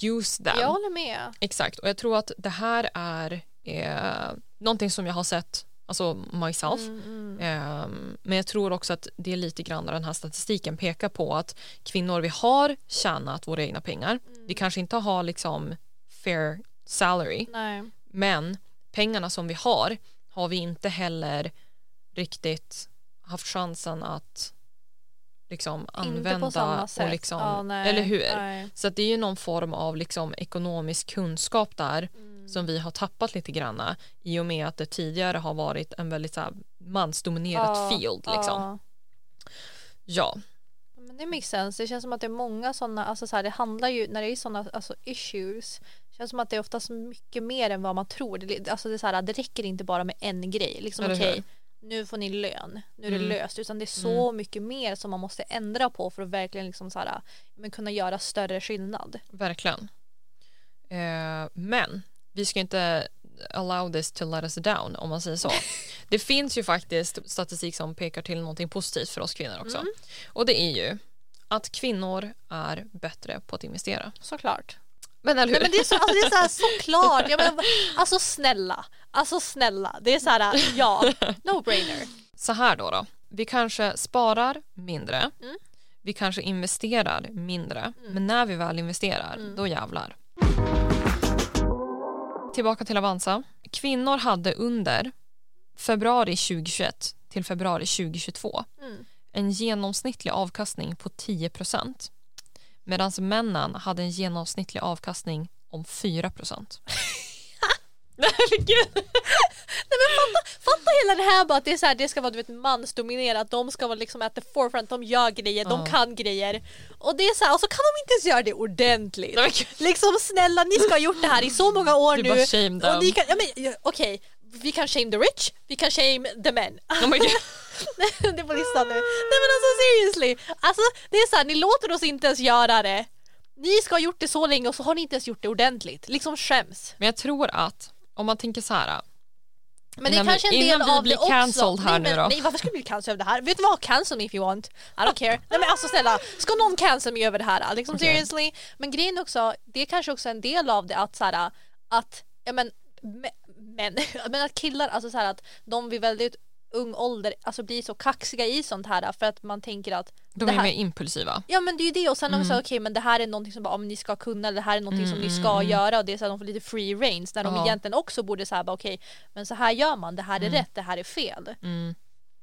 Speaker 1: use them.
Speaker 2: Jag håller med.
Speaker 1: Exakt, och jag tror att det här är eh, någonting som jag har sett, alltså myself.
Speaker 2: Mm, mm.
Speaker 1: Ehm, men jag tror också att det är lite grann vad den här statistiken pekar på att kvinnor vi har tjänat våra egna pengar,
Speaker 2: Mm.
Speaker 1: vi kanske inte har liksom fair salary,
Speaker 2: Nej.
Speaker 1: men pengarna som vi har har vi inte heller riktigt haft chansen att liksom
Speaker 2: inte på
Speaker 1: använda
Speaker 2: samma
Speaker 1: och
Speaker 2: sätt.
Speaker 1: liksom,
Speaker 2: Ja, nej,
Speaker 1: eller hur?
Speaker 2: Nej.
Speaker 1: Så att det är ju någon form av liksom ekonomisk kunskap där
Speaker 2: Mm.
Speaker 1: som vi har tappat lite granna i och med att det tidigare har varit en väldigt så här, mansdominerat
Speaker 2: Ja,
Speaker 1: field liksom.
Speaker 2: ja.
Speaker 1: Ja,
Speaker 2: Men det makes sense. Det känns som att det är många sådana, alltså så här, det handlar ju, när det är sådana alltså issues, det känns som att det är oftast mycket mer än vad man tror. Det, alltså det, är så här, det räcker inte bara med en grej, liksom
Speaker 1: Eller hur?
Speaker 2: okej, nu får ni lön, nu är det
Speaker 1: Mm.
Speaker 2: löst, utan det är så mycket mer som man måste ändra på för att verkligen liksom så här, men kunna göra större skillnad.
Speaker 1: verkligen. Eh, men vi ska inte allow this to let us down om man säger så. det finns ju faktiskt statistik som pekar till någonting positivt för oss kvinnor också. Och det är ju att kvinnor är bättre på att investera.
Speaker 2: Såklart.
Speaker 1: Men eller hur?
Speaker 2: Nej, men det är så, alltså, det är så här, såklart. Jag menar, alltså snälla, alltså snälla. Det är så här, ja, no brainer.
Speaker 1: så här då, då. Vi kanske sparar mindre.
Speaker 2: Mm.
Speaker 1: Vi kanske investerar mindre. Men när vi väl investerar,
Speaker 2: Mm.
Speaker 1: då jävlar. Tillbaka till Avanza. Kvinnor hade under februari 2021 till februari 2022
Speaker 2: Mm.
Speaker 1: en genomsnittlig avkastning på 10 medan männen hade en genomsnittlig avkastning om 4 Nej, men gud.
Speaker 2: Fatta hela det här bara att det, är så här, det ska vara du vet, mansdominerat, de ska vara liksom at the forefront, de gör grejer, de
Speaker 1: Ja.
Speaker 2: kan grejer. Och det är så här, och så kan de inte ens göra det ordentligt.
Speaker 1: Nej, men gud.
Speaker 2: Liksom snälla, ni ska ha gjort det här i så många år
Speaker 1: Du
Speaker 2: nu.
Speaker 1: bara shame them.
Speaker 2: och ni kan, ja, men, ja, okej, vi kan shame the rich, vi kan shame the men.
Speaker 1: Oh my God.
Speaker 2: det är på listan nu. Nej men alltså seriously, alltså det är så här, ni låter oss inte ens göra det. Ni ska ha gjort det så länge och så har ni inte ens gjort det ordentligt. Liksom skäms.
Speaker 1: Men jag tror att om man tänker så här.
Speaker 2: Men det
Speaker 1: Nej,
Speaker 2: är
Speaker 1: men
Speaker 2: kanske en del
Speaker 1: innan vi
Speaker 2: av
Speaker 1: blir
Speaker 2: det också.
Speaker 1: cancelled här
Speaker 2: nej,
Speaker 1: nu
Speaker 2: men,
Speaker 1: då.
Speaker 2: Nej varför skulle vi bli cancelled över det här? Vet du vad? Cancel me if you want. I don't care. Nej men alltså snälla, ska någon cancel mig över det här? Liksom
Speaker 1: Okej.
Speaker 2: seriously. Men grejen är också, det är kanske också en del av det att såhär att, ja men, me- men, men att killar, alltså såhär att de vid väldigt ung ålder alltså blir så kaxiga i sånt här för att man tänker att
Speaker 1: De
Speaker 2: det
Speaker 1: är
Speaker 2: här-
Speaker 1: mer impulsiva.
Speaker 2: Ja men det är ju det och sen de säger
Speaker 1: Mm.
Speaker 2: okej men det här är någonting som bara, om ni ska kunna eller det här är någonting som ni ska göra och det är så här, de får lite free range när de
Speaker 1: Mm. Ja.
Speaker 2: egentligen också borde säga okej men så här gör man, det här är rätt, det här är fel.
Speaker 1: Mm.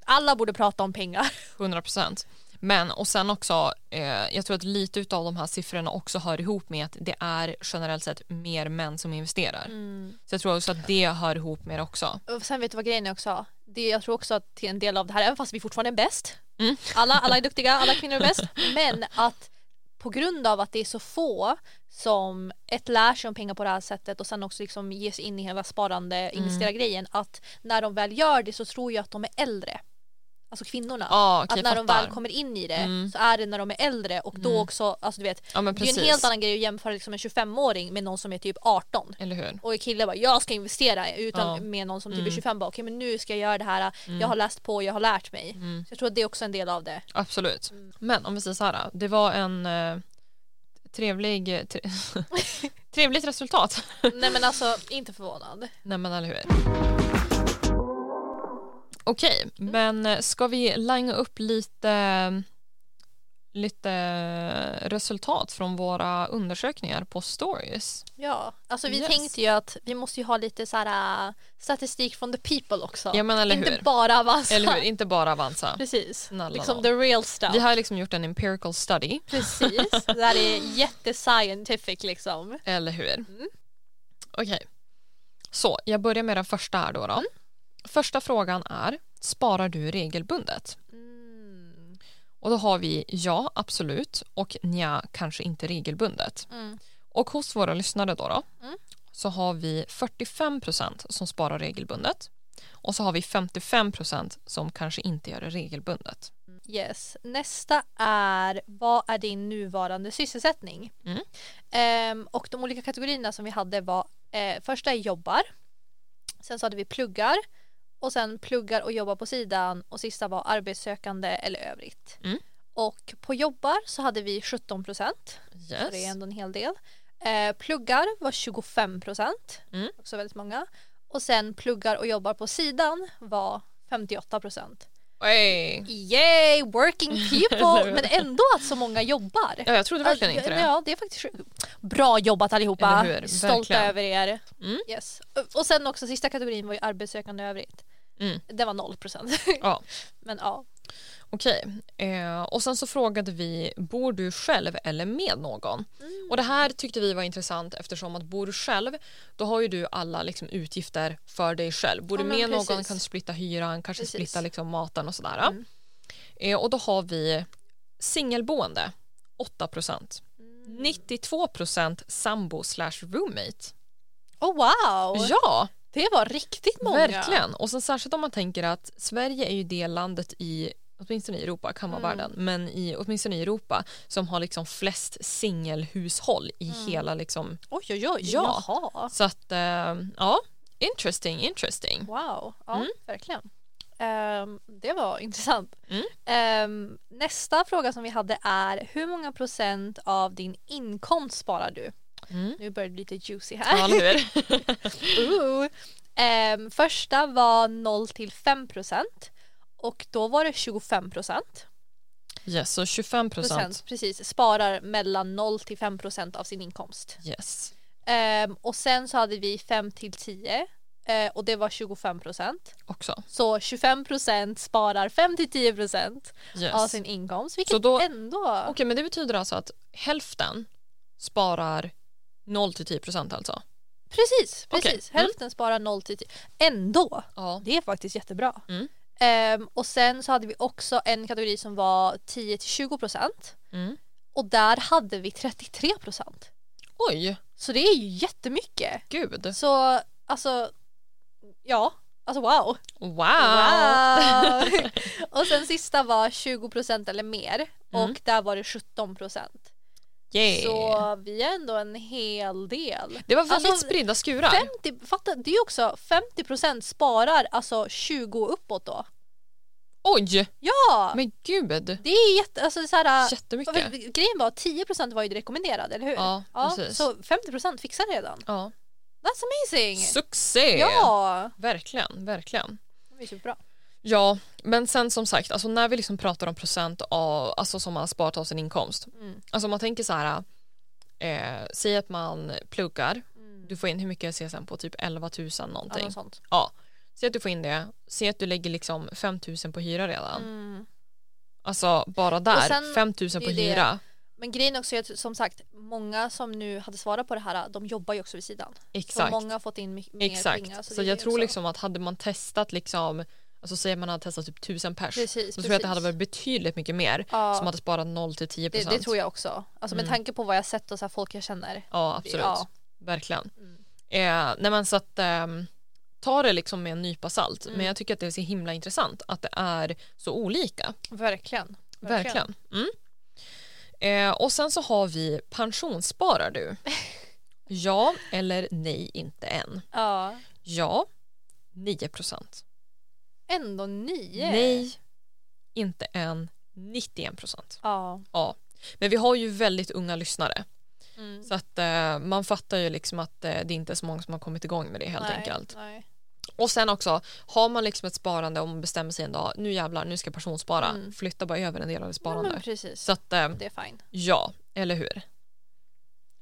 Speaker 2: Alla borde prata om pengar.
Speaker 1: 100 procent. Men och sen också, eh, jag tror att lite utav de här siffrorna också hör ihop med att det är generellt sett mer män som investerar.
Speaker 2: Mm.
Speaker 1: Så jag tror också att det hör ihop med det också.
Speaker 2: Och sen vet du vad grejen är också? Det, jag tror också att till en del av det här, även fast vi fortfarande är bäst,
Speaker 1: Mm.
Speaker 2: alla, alla är duktiga, alla kvinnor är bäst, men att på grund av att det är så få som ett lär sig om pengar på det här sättet och sen också liksom ges in i hela sparande,
Speaker 1: Mm.
Speaker 2: investera grejen att när de väl gör det så tror jag att de är äldre. Alltså kvinnorna.
Speaker 1: Ja, okej,
Speaker 2: att när de
Speaker 1: fattar.
Speaker 2: väl kommer in i det
Speaker 1: Mm.
Speaker 2: så är det när de är äldre och då också, alltså du vet,
Speaker 1: Ja, men
Speaker 2: det är ju en
Speaker 1: precis.
Speaker 2: helt annan grej att jämföra liksom en 25-åring med någon som är typ 18
Speaker 1: Eller hur?
Speaker 2: och en kille bara jag ska investera utan
Speaker 1: Ja. Mm.
Speaker 2: med någon som typ är 25 bara okej men nu ska jag göra det här, jag har läst på, jag har lärt mig.
Speaker 1: Mm.
Speaker 2: Så jag tror att det är också en del av det.
Speaker 1: Absolut.
Speaker 2: Mm.
Speaker 1: Men om vi säger så här, det var en eh, trevlig, eh, tre, trevligt resultat.
Speaker 2: Nej men alltså inte förvånad.
Speaker 1: Nej men eller hur. Okej, men eh, ska vi langa upp lite, lite resultat från våra undersökningar på stories?
Speaker 2: Ja, alltså vi
Speaker 1: Yes.
Speaker 2: tänkte ju att vi måste ju ha lite så här äh, statistik från the people också.
Speaker 1: Ja men eller
Speaker 2: inte
Speaker 1: hur?
Speaker 2: bara Avanza.
Speaker 1: Eller hur? Inte bara Avanza.
Speaker 2: Precis.
Speaker 1: Snälla
Speaker 2: liksom
Speaker 1: nån.
Speaker 2: the real stuff.
Speaker 1: Vi har liksom gjort en empirical study,
Speaker 2: Precis. det här är jättescientific liksom.
Speaker 1: eller hur? Okej. Så, jag börjar med den första här då. då.
Speaker 2: Mm.
Speaker 1: Första frågan är, sparar du regelbundet?
Speaker 2: Mm.
Speaker 1: Och då har vi ja, absolut och nja, kanske inte regelbundet.
Speaker 2: Mm.
Speaker 1: Och hos våra lyssnare då, då
Speaker 2: Mm.
Speaker 1: så har vi 45 som sparar regelbundet och så har vi 55 som kanske inte gör det regelbundet.
Speaker 2: Yes. Nästa är vad är din nuvarande sysselsättning?
Speaker 1: Mm.
Speaker 2: Ehm, och de olika kategorierna som vi hade var eh, första är jobbar. Sen så hade vi pluggar och sen pluggar och jobbar på sidan och sista var arbetssökande eller övrigt.
Speaker 1: Mm.
Speaker 2: Och på jobbar så hade vi 17 procent. Så det är
Speaker 1: Yes.
Speaker 2: ändå en hel del. Eh, pluggar var 25 procent.
Speaker 1: Mm.
Speaker 2: Också väldigt många. Och sen pluggar och jobbar på sidan var 58 procent.
Speaker 1: Oj.
Speaker 2: Yay, working
Speaker 1: Eller
Speaker 2: people!
Speaker 1: hur?
Speaker 2: Men ändå att så många jobbar. Alltså,
Speaker 1: Ja, jag trodde verkligen inte det.
Speaker 2: Ja, det är faktiskt sjukt. Bra jobbat allihopa.
Speaker 1: Eller hur?
Speaker 2: Stolta
Speaker 1: Verkligen.
Speaker 2: över er.
Speaker 1: Mm.
Speaker 2: Yes. Och sen också sista kategorin var ju arbetssökande i övrigt.
Speaker 1: Mm.
Speaker 2: Det var 0 procent.
Speaker 1: Ja.
Speaker 2: Men ja.
Speaker 1: Okej, eh, och sen så frågade vi bor du själv eller med någon? Och det här tyckte vi var intressant eftersom att bor du själv då har ju du alla liksom, utgifter för dig själv. Bor
Speaker 2: Ja,
Speaker 1: du
Speaker 2: men
Speaker 1: med någon
Speaker 2: precis.
Speaker 1: kan du splitta hyran, kanske
Speaker 2: Precis.
Speaker 1: splitta liksom, maten och sådär.
Speaker 2: Mm.
Speaker 1: Eh, och då har vi singelboende 8
Speaker 2: Mm.
Speaker 1: 92 sambo slash roommate.
Speaker 2: Oh wow!
Speaker 1: Ja,
Speaker 2: Det var riktigt många.
Speaker 1: verkligen. Och sen särskilt om man tänker att Sverige är ju det landet i åtminstone i Europa, kan vara
Speaker 2: Mm.
Speaker 1: världen, men i, åtminstone i Europa som har liksom flest singelhushåll i
Speaker 2: Mm.
Speaker 1: hela liksom.
Speaker 2: Oj oj oj.
Speaker 1: Ja.
Speaker 2: Jaha.
Speaker 1: Så att eh, ja, interesting, interesting.
Speaker 2: Wow, ja
Speaker 1: Mm.
Speaker 2: verkligen. Ehm, det var intressant.
Speaker 1: Mm.
Speaker 2: Ehm, nästa fråga som vi hade är hur många procent av din inkomst sparar du?
Speaker 1: Mm.
Speaker 2: Nu börjar det lite juicy
Speaker 1: Ja,
Speaker 2: här.
Speaker 1: eller hur?
Speaker 2: Ooh. Ehm, första var 0 till 5 procent och då var det 25 procent.
Speaker 1: Yes, så 25 procent.
Speaker 2: Precis, sparar mellan 0 till 5 procent av sin inkomst.
Speaker 1: Yes.
Speaker 2: Ehm, och sen så hade vi 5 till 10 eh, och det var 25 procent.
Speaker 1: Också.
Speaker 2: Så 25 sparar 5-10
Speaker 1: Yes.
Speaker 2: av sin inkomst,
Speaker 1: Så
Speaker 2: vilket
Speaker 1: då-
Speaker 2: ändå...
Speaker 1: Okej, men det betyder alltså att hälften sparar 0 till 10 procent alltså?
Speaker 2: Precis,
Speaker 1: Okej,
Speaker 2: precis.
Speaker 1: mm.
Speaker 2: Hälften sparar 0-10. Ändå!
Speaker 1: Ja.
Speaker 2: Det är faktiskt jättebra.
Speaker 1: Mm.
Speaker 2: Ehm, och sen så hade vi också en kategori som var 10-20
Speaker 1: Mm.
Speaker 2: och där hade vi 33
Speaker 1: Oj,
Speaker 2: Så det är ju jättemycket.
Speaker 1: gud.
Speaker 2: Så alltså, ja. Alltså wow!
Speaker 1: Wow. Ah.
Speaker 2: wow.
Speaker 1: Mm.
Speaker 2: och sen sista var 20 eller mer och där var det 17
Speaker 1: Yeah.
Speaker 2: Så vi är ändå en hel del.
Speaker 1: det var väldigt
Speaker 2: Alltså,
Speaker 1: spridda skurar.
Speaker 2: 50, fatta, det är ju också 50% sparar alltså 20 uppåt då.
Speaker 1: Oj,
Speaker 2: Ja!
Speaker 1: men gud.
Speaker 2: Det är jätte, alltså så här, och
Speaker 1: Jättemycket.
Speaker 2: vi- grejen var att 10% var ju rekommenderad, eller hur?
Speaker 1: Ja, precis.
Speaker 2: så 50% fixar redan.
Speaker 1: Ja.
Speaker 2: That's amazing!
Speaker 1: Succé!
Speaker 2: Ja!
Speaker 1: Verkligen, verkligen.
Speaker 2: Det är superbra.
Speaker 1: Ja, men sen som sagt, alltså när vi liksom pratar om procent av, alltså som man har sparat av sin inkomst.
Speaker 2: Mm.
Speaker 1: Alltså om man tänker så här, eh, säg att man pluggar,
Speaker 2: Mm.
Speaker 1: du får in hur mycket CSN på, typ 11 000
Speaker 2: Ja,
Speaker 1: någonting.
Speaker 2: något sånt.
Speaker 1: Ja, säg att du får in det, säg att du lägger liksom 5 000 på hyra redan.
Speaker 2: Mm.
Speaker 1: Alltså bara där,
Speaker 2: sen-
Speaker 1: 5 000
Speaker 2: det
Speaker 1: på
Speaker 2: är det.
Speaker 1: hyra.
Speaker 2: Men grejen också är att som sagt, många som nu hade svarat på det här, de jobbar ju också vid sidan. Så
Speaker 1: Exakt.
Speaker 2: många har fått in my- mer
Speaker 1: Exakt.
Speaker 2: pengar. alltså
Speaker 1: så
Speaker 2: det är
Speaker 1: jag
Speaker 2: det
Speaker 1: tror
Speaker 2: också.
Speaker 1: liksom att hade man testat liksom, alltså säg att man hade testat typ 1000 pers,
Speaker 2: Precis,
Speaker 1: så tror jag att det
Speaker 2: precis.
Speaker 1: hade varit betydligt mycket mer
Speaker 2: Ja.
Speaker 1: som hade sparat 0 till 10
Speaker 2: Det,
Speaker 1: procent.
Speaker 2: det tror jag också. Alltså med tanke på vad jag sett och så här folk jag känner.
Speaker 1: Ja, absolut.
Speaker 2: Ja.
Speaker 1: Verkligen.
Speaker 2: Mm.
Speaker 1: Eh, nej men så att ehm, ta det liksom med en nypa salt.
Speaker 2: Mm.
Speaker 1: Men jag tycker att det är så himla intressant att det är så olika.
Speaker 2: Verkligen.
Speaker 1: Verkligen. Mm. Eh, och sen så har vi pensionssparar du? ja eller nej inte än.
Speaker 2: Ja.
Speaker 1: Ja, 9 procent.
Speaker 2: Ändå nio.
Speaker 1: Nej, inte än 91 procent.
Speaker 2: Ja.
Speaker 1: Ja. Men vi har ju väldigt unga lyssnare.
Speaker 2: Mm.
Speaker 1: Så att eh, man fattar ju liksom att eh, det inte är så många som har kommit igång med det helt
Speaker 2: nej,
Speaker 1: enkelt.
Speaker 2: Nej.
Speaker 1: Och sen också, har man liksom ett sparande och man bestämmer sig en dag, nu jävlar, nu ska jag pensionsspara,
Speaker 2: Mm.
Speaker 1: flytta bara över en del av det
Speaker 2: Ja,
Speaker 1: sparande.
Speaker 2: men precis.
Speaker 1: så att eh,
Speaker 2: Det är fine.
Speaker 1: ja, eller hur?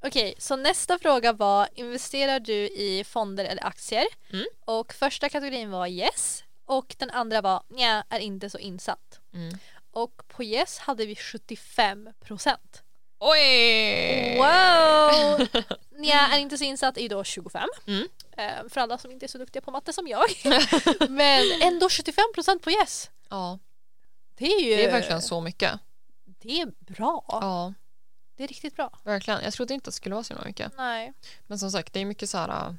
Speaker 2: Okej, så nästa fråga var investerar du i fonder eller aktier?
Speaker 1: Mm.
Speaker 2: Och första kategorin var yes och den andra var nja, är inte så insatt.
Speaker 1: Mm.
Speaker 2: Och på yes hade vi 75 procent.
Speaker 1: Oj!
Speaker 2: Wow! Nja, är inte så insatt är ju då 25.
Speaker 1: Mm.
Speaker 2: Eh, För alla som inte är så duktiga på matte som jag. Men ändå 75 procent på yes.
Speaker 1: Ja,
Speaker 2: Det är ju
Speaker 1: det är verkligen så mycket.
Speaker 2: det är bra.
Speaker 1: Ja,
Speaker 2: Det är riktigt bra.
Speaker 1: verkligen. Jag trodde inte att det skulle vara så himla mycket.
Speaker 2: Nej.
Speaker 1: Men som sagt, det är mycket så här, eh,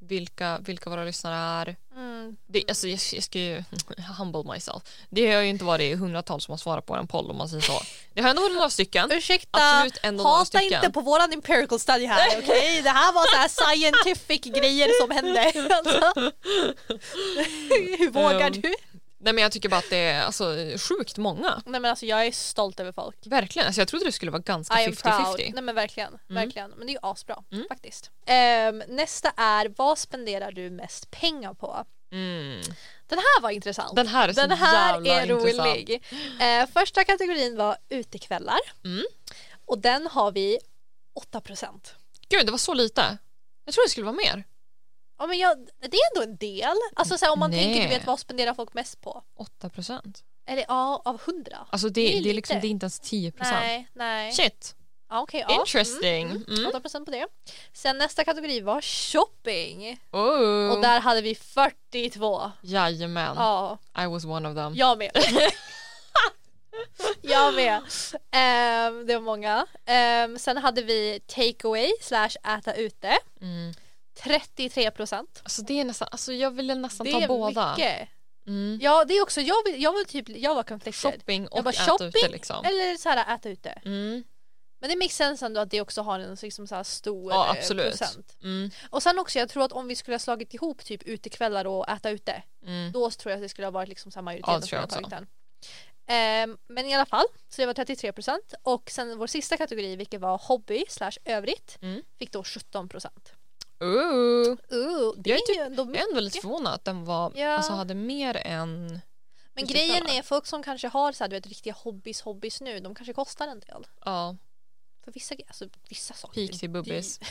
Speaker 1: vilka, vilka våra lyssnare är.
Speaker 2: Mm.
Speaker 1: Det, alltså, jag, jag ska ju humble myself. Det har ju inte varit hundratals som har svarat på en poll om man säger så. Det har ändå varit några stycken.
Speaker 2: Ursäkta,
Speaker 1: Absolut ändå några
Speaker 2: hata
Speaker 1: stycken.
Speaker 2: inte på våran empirical study här okej? Det här var så här scientific grejer som hände. Alltså. Hur vågar
Speaker 1: Um.
Speaker 2: du?
Speaker 1: Nej men jag tycker bara att det är alltså, sjukt många.
Speaker 2: Nej men alltså jag är stolt över folk.
Speaker 1: Verkligen, alltså jag trodde det skulle vara ganska
Speaker 2: I am proud.
Speaker 1: 50-50.
Speaker 2: Nej men verkligen,
Speaker 1: Mm.
Speaker 2: verkligen. Men det är ju asbra faktiskt. Ehm, nästa är vad spenderar du mest pengar på?
Speaker 1: Mm.
Speaker 2: Den här var intressant.
Speaker 1: Den här är så
Speaker 2: Den här
Speaker 1: jävla
Speaker 2: är
Speaker 1: intressant.
Speaker 2: rolig. Eh, första kategorin var utekvällar.
Speaker 1: Mm.
Speaker 2: Och den har vi 8%.
Speaker 1: Gud det var så lite. Jag trodde det skulle vara mer.
Speaker 2: Ja, men jag, det är ändå en del. Alltså så här, om man
Speaker 1: Nej.
Speaker 2: tänker du vet vad spenderar folk mest på?
Speaker 1: 8 procent.
Speaker 2: Eller ja, av 100?
Speaker 1: Alltså det,
Speaker 2: Det
Speaker 1: det,
Speaker 2: är
Speaker 1: är liksom,
Speaker 2: lite.
Speaker 1: det är inte ens 10 procent.
Speaker 2: Nej, nej.
Speaker 1: Shit,
Speaker 2: Ja, okej, ja.
Speaker 1: interesting. Mm.
Speaker 2: Mm, 8% på det. Sen nästa kategori var shopping.
Speaker 1: Oh.
Speaker 2: Och där hade vi 42.
Speaker 1: Mm. Jajamän,
Speaker 2: Ja,
Speaker 1: I was one of them.
Speaker 2: jag med. jag med. Ehm, det var många. Ehm, sen hade vi takeaway slash äta ute.
Speaker 1: Mm.
Speaker 2: 33 procent.
Speaker 1: Alltså det är nästan, alltså jag ville nästan
Speaker 2: Det
Speaker 1: ta
Speaker 2: är
Speaker 1: båda.
Speaker 2: mycket.
Speaker 1: Mm.
Speaker 2: Ja, det är också, jag, vill- jag var typ, jag var conflicted.
Speaker 1: Shopping
Speaker 2: Jag
Speaker 1: och
Speaker 2: bara
Speaker 1: äta
Speaker 2: shopping
Speaker 1: ute liksom.
Speaker 2: eller så här äta ute.
Speaker 1: Mm.
Speaker 2: Men det makes sense ändå att det också har en liksom så här stor
Speaker 1: Ja
Speaker 2: eh,
Speaker 1: absolut.
Speaker 2: procent.
Speaker 1: Mm.
Speaker 2: Och sen också jag tror att om vi skulle ha slagit ihop typ utekvällar och äta ute
Speaker 1: Mm.
Speaker 2: då tror jag att det skulle ha varit liksom samma majoritet.
Speaker 1: Ja, det
Speaker 2: som
Speaker 1: tror jag
Speaker 2: skulle ha
Speaker 1: också.
Speaker 2: tagit den. Ehm, men i alla fall, så det var 33 procent och sen vår sista kategori vilket var hobby slash övrigt
Speaker 1: Mm.
Speaker 2: fick då 17 procent.
Speaker 1: Ooh.
Speaker 2: Uh, det
Speaker 1: Jag är
Speaker 2: är ju ändå
Speaker 1: Jag är ändå lite
Speaker 2: mycket.
Speaker 1: förvånad att den var,
Speaker 2: Ja.
Speaker 1: alltså hade mer än
Speaker 2: Men
Speaker 1: utekvällar.
Speaker 2: grejen är folk som kanske har så här, du vet, riktiga hobbys hobbys nu de kanske kostar en del.
Speaker 1: ja,
Speaker 2: För vissa, gre- alltså, vissa saker.
Speaker 1: Peak till
Speaker 2: är
Speaker 1: bubbis.
Speaker 2: dyr.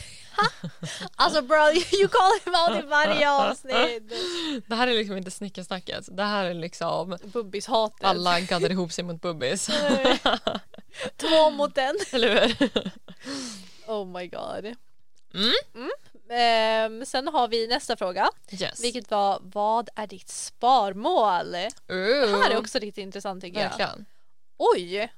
Speaker 2: alltså bro, you call him out i varje avsnitt.
Speaker 1: Det här är liksom inte snickersnacket. Det här är liksom
Speaker 2: Bubbishatet.
Speaker 1: alla gaddar ihop sig mot bubbis.
Speaker 2: Två mot en.
Speaker 1: Eller hur?
Speaker 2: Oh my god.
Speaker 1: Mm.
Speaker 2: Ehm, sen har vi nästa fråga,
Speaker 1: Yes.
Speaker 2: vilket var vad är ditt sparmål? Det
Speaker 1: Ooh,
Speaker 2: här är också riktigt intressant tycker jag.
Speaker 1: Mm. Verkligen.
Speaker 2: Oj!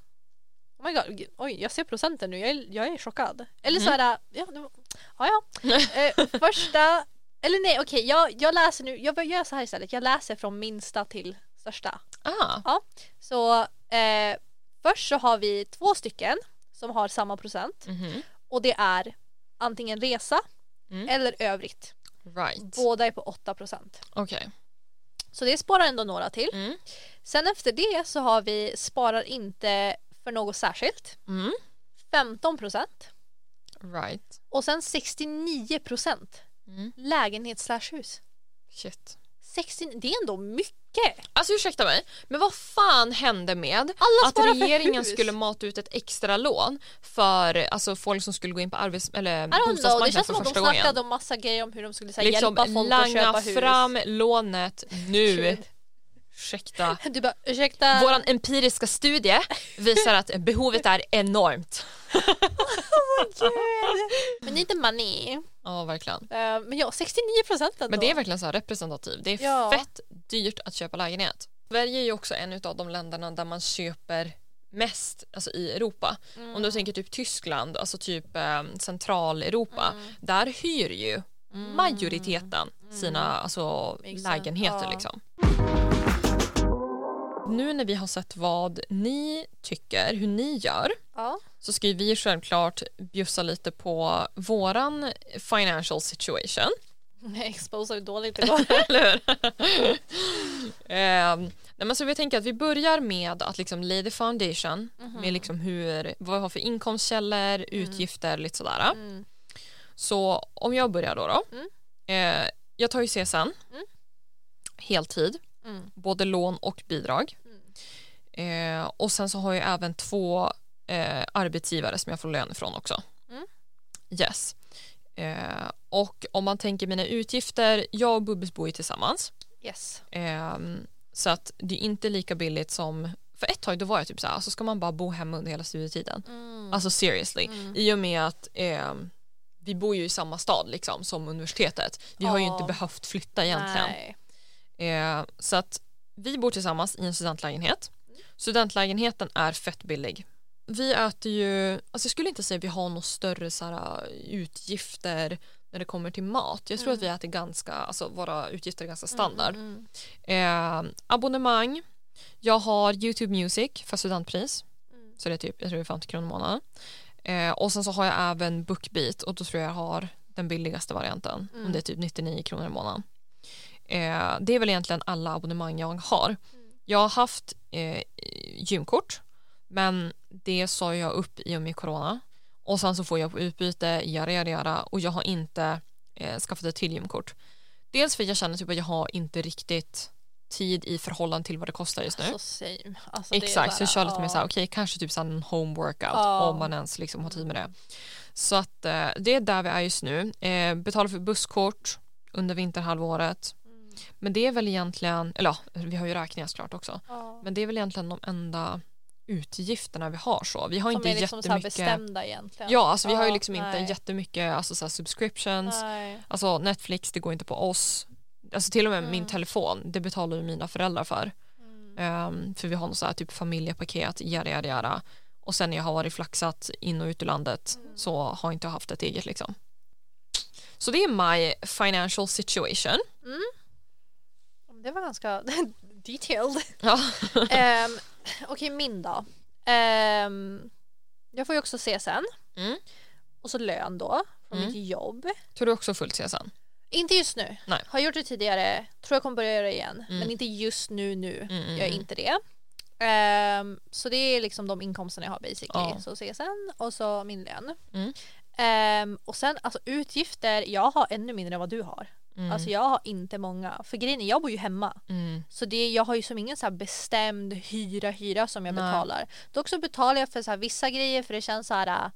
Speaker 2: Oh my god, g- oj, jag ser procenten nu, jag är, jag är chockad. Eller
Speaker 1: Mm.
Speaker 2: så här, ja, det var- ja, ja. Eh, första, eller nej okej, jag, jag läser nu, jag gör så här istället, jag läser från minsta till största.
Speaker 1: Ah,
Speaker 2: Så eh, först så har vi två stycken som har samma procent
Speaker 1: Mhm.
Speaker 2: och det är antingen resa
Speaker 1: Mm.
Speaker 2: eller övrigt.
Speaker 1: Right.
Speaker 2: Båda är på 8 procent.
Speaker 1: Okej.
Speaker 2: Så det sparar ändå några till.
Speaker 1: Mm.
Speaker 2: Sen efter det så har vi sparar inte för något särskilt.
Speaker 1: Mm.
Speaker 2: 15 procent.
Speaker 1: Right.
Speaker 2: Och sen 69 procent
Speaker 1: Mm.
Speaker 2: lägenhet slash hus.
Speaker 1: Shit.
Speaker 2: 60, det är ändå mycket!
Speaker 1: Alltså ursäkta mig, men vad fan hände med
Speaker 2: Alla
Speaker 1: att
Speaker 2: sparar för
Speaker 1: regeringen
Speaker 2: hus.
Speaker 1: skulle mata ut ett extra lån för alltså, folk som skulle gå in på arbets- eller
Speaker 2: I don't know, det
Speaker 1: bostadsmarknaden
Speaker 2: känns
Speaker 1: för
Speaker 2: som att de
Speaker 1: första gången?
Speaker 2: snackade om massa grejer om hur de skulle så här,
Speaker 1: Liksom
Speaker 2: hjälpa folk att
Speaker 1: langa
Speaker 2: köpa hus.
Speaker 1: fram lånet nu.
Speaker 2: Gud.
Speaker 1: Ursäkta.
Speaker 2: Du bara ursäkta,
Speaker 1: Vår empiriska studie visar att behovet är enormt.
Speaker 2: men inte money.
Speaker 1: Ja, verkligen.
Speaker 2: Eh, men ja, 69 procent ändå.
Speaker 1: Men det är verkligen så här representativt. Det är
Speaker 2: Ja.
Speaker 1: fett dyrt att köpa lägenhet. Sverige är ju också en av de länderna där man köper mest alltså i Europa.
Speaker 2: Mm.
Speaker 1: Om du tänker typ Tyskland, alltså typ eh, Centraleuropa,
Speaker 2: Mm.
Speaker 1: där hyr ju majoriteten sina alltså,
Speaker 2: Mm. Exakt,
Speaker 1: lägenheter.
Speaker 2: ja.
Speaker 1: Liksom. Nu när vi har sett vad ni tycker, hur ni gör,
Speaker 2: Ja.
Speaker 1: så ska ju vi självklart bjussa lite på våran financial situation.
Speaker 2: Exposar hur dåligt det går.
Speaker 1: Eller hur? Ehm, nej, men så vi tänker att vi börjar med att liksom lay the foundation
Speaker 2: Mhm.
Speaker 1: med liksom hur, vad vi har för inkomstkällor, utgifter, lite sådär.
Speaker 2: Mm.
Speaker 1: Så om jag börjar då. då
Speaker 2: Mm.
Speaker 1: eh, jag tar ju CSN, heltid,
Speaker 2: Mm.
Speaker 1: både lån och bidrag. Eh, och sen så har jag även två eh, arbetsgivare som jag får lön ifrån också.
Speaker 2: Mm.
Speaker 1: Yes. Eh, och om man tänker mina utgifter, jag och Bubbis bor ju tillsammans.
Speaker 2: Yes.
Speaker 1: Ehm, så att det är inte lika billigt som för ett tag då var jag typ så här, alltså ska man bara bo hemma under hela studietiden?
Speaker 2: Mm.
Speaker 1: Alltså seriously. I och med att ehm, vi bor ju i samma stad liksom som universitetet. Vi har ju
Speaker 2: Ja.
Speaker 1: inte behövt flytta egentligen.
Speaker 2: Nej.
Speaker 1: Eh, så att vi bor tillsammans i en studentlägenhet. Studentlägenheten är fett billig. Vi äter ju, alltså jag skulle inte säga att vi har några större så här, äh, utgifter när det kommer till mat. Jag tror att vi äter ganska, alltså våra utgifter är ganska standard.
Speaker 2: Mm.
Speaker 1: Eh, abonnemang. Jag har Youtube Music för studentpris.
Speaker 2: Mm.
Speaker 1: Så det är typ, jag tror det är 50 kronor i månaden. Eh, och sen så har jag även BookBeat och då tror jag jag har den billigaste varianten.
Speaker 2: Mm.
Speaker 1: Om det är typ 99 kronor i månaden. Eh, det är väl egentligen alla abonnemang jag har.
Speaker 2: Mm.
Speaker 1: Jag har haft eh, gymkort men det sa jag upp i och med corona. Och sen så får jag på utbyte, göra, göra, göra och jag har inte eh, skaffat ett till gymkort. Dels för att jag känner typ att jag har inte riktigt tid i förhållande till vad det kostar just nu.
Speaker 2: Så same. Alltså, det är
Speaker 1: Mm. Exakt, så
Speaker 2: bara-
Speaker 1: jag kör lite mer
Speaker 2: ja.
Speaker 1: så här, okej kanske typ så här en home workout
Speaker 2: Ja.
Speaker 1: om man ens liksom har tid med det. Så att eh, det är där vi är just nu. Eh, betalar för busskort under vinterhalvåret.
Speaker 2: Mm.
Speaker 1: Men det är väl egentligen, eller ja, vi har ju räkningar såklart också.
Speaker 2: Ja.
Speaker 1: Men det är väl egentligen de enda utgifterna vi har så. Vi har
Speaker 2: Som
Speaker 1: inte
Speaker 2: är liksom så här
Speaker 1: jättemycket.
Speaker 2: bestämda egentligen.
Speaker 1: ja, alltså vi har ju
Speaker 2: Ja,
Speaker 1: liksom
Speaker 2: nej.
Speaker 1: inte jättemycket alltså, så här subscriptions.
Speaker 2: Nej.
Speaker 1: Alltså Netflix, det går inte på oss. Alltså till och med min
Speaker 2: Mm.
Speaker 1: telefon, det betalar ju mina föräldrar för.
Speaker 2: Mm.
Speaker 1: Ehm, för vi har något så här typ familjepaket, yada yada yada. Och sen när jag har varit flaxat in och ut ur landet
Speaker 2: Mm.
Speaker 1: så har jag inte haft ett eget liksom. Så det är my financial situation.
Speaker 2: Det var ganska detailed.
Speaker 1: Ja.
Speaker 2: Ehm, Okej, min då. Ehm, jag får ju också CSN.
Speaker 1: Mm.
Speaker 2: Och så lön då, från
Speaker 1: Mm.
Speaker 2: mitt jobb.
Speaker 1: Tror du också fullt CSN?
Speaker 2: Inte just nu.
Speaker 1: Nej.
Speaker 2: Har gjort det tidigare. Tror jag kommer börja göra det igen.
Speaker 1: Mm.
Speaker 2: Men inte just nu nu.
Speaker 1: Mm, mm,
Speaker 2: Gör jag
Speaker 1: mm.
Speaker 2: inte det. Ehm, så det är liksom de inkomsterna jag har basically.
Speaker 1: Ja.
Speaker 2: Så CSN och så min lön.
Speaker 1: Mm.
Speaker 2: Ehm, och sen alltså utgifter, jag har ännu mindre än vad du har.
Speaker 1: Mm.
Speaker 2: Alltså jag har inte många. För grejen är, jag bor ju hemma.
Speaker 1: Mm.
Speaker 2: Så det, jag har ju som ingen så här bestämd hyra hyra som jag
Speaker 1: Nej.
Speaker 2: betalar. Dock så betalar jag för så här vissa grejer för det känns så här äh,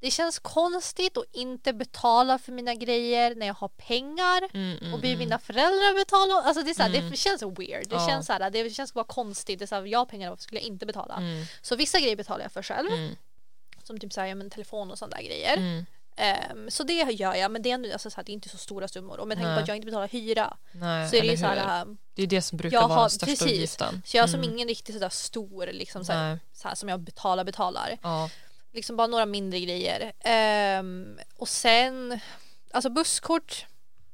Speaker 2: det känns konstigt att inte betala för mina grejer när jag har pengar
Speaker 1: Mm, mm,
Speaker 2: och blir
Speaker 1: mm.
Speaker 2: mina föräldrar betala. Alltså det, är så här,
Speaker 1: Mm.
Speaker 2: det känns weird. Det,
Speaker 1: Ja.
Speaker 2: känns så här, det känns bara konstigt. Det är så här, jag har pengar, varför skulle jag inte betala?
Speaker 1: Mm,
Speaker 2: Så vissa grejer betalar jag för själv.
Speaker 1: mm,
Speaker 2: Som typ så här, ja, men telefon och sådana där grejer.
Speaker 1: mm.
Speaker 2: Ehm, så det gör jag men det är, ändå, alltså, så här, det är inte så stora summor. Och med tanke på
Speaker 1: Nej.
Speaker 2: att jag inte betalar hyra
Speaker 1: Nej,
Speaker 2: så är det
Speaker 1: eller
Speaker 2: ju så här,
Speaker 1: hur?
Speaker 2: äh,
Speaker 1: det är det som brukar
Speaker 2: jag
Speaker 1: vara
Speaker 2: har-
Speaker 1: den största
Speaker 2: precis.
Speaker 1: utgiften.
Speaker 2: Så jag har som
Speaker 1: Mm.
Speaker 2: ingen riktigt sådär stor liksom, såhär,
Speaker 1: Nej.
Speaker 2: såhär, som jag betalar betalar.
Speaker 1: Ja.
Speaker 2: Liksom bara några mindre grejer. Ehm, och sen, alltså busskort,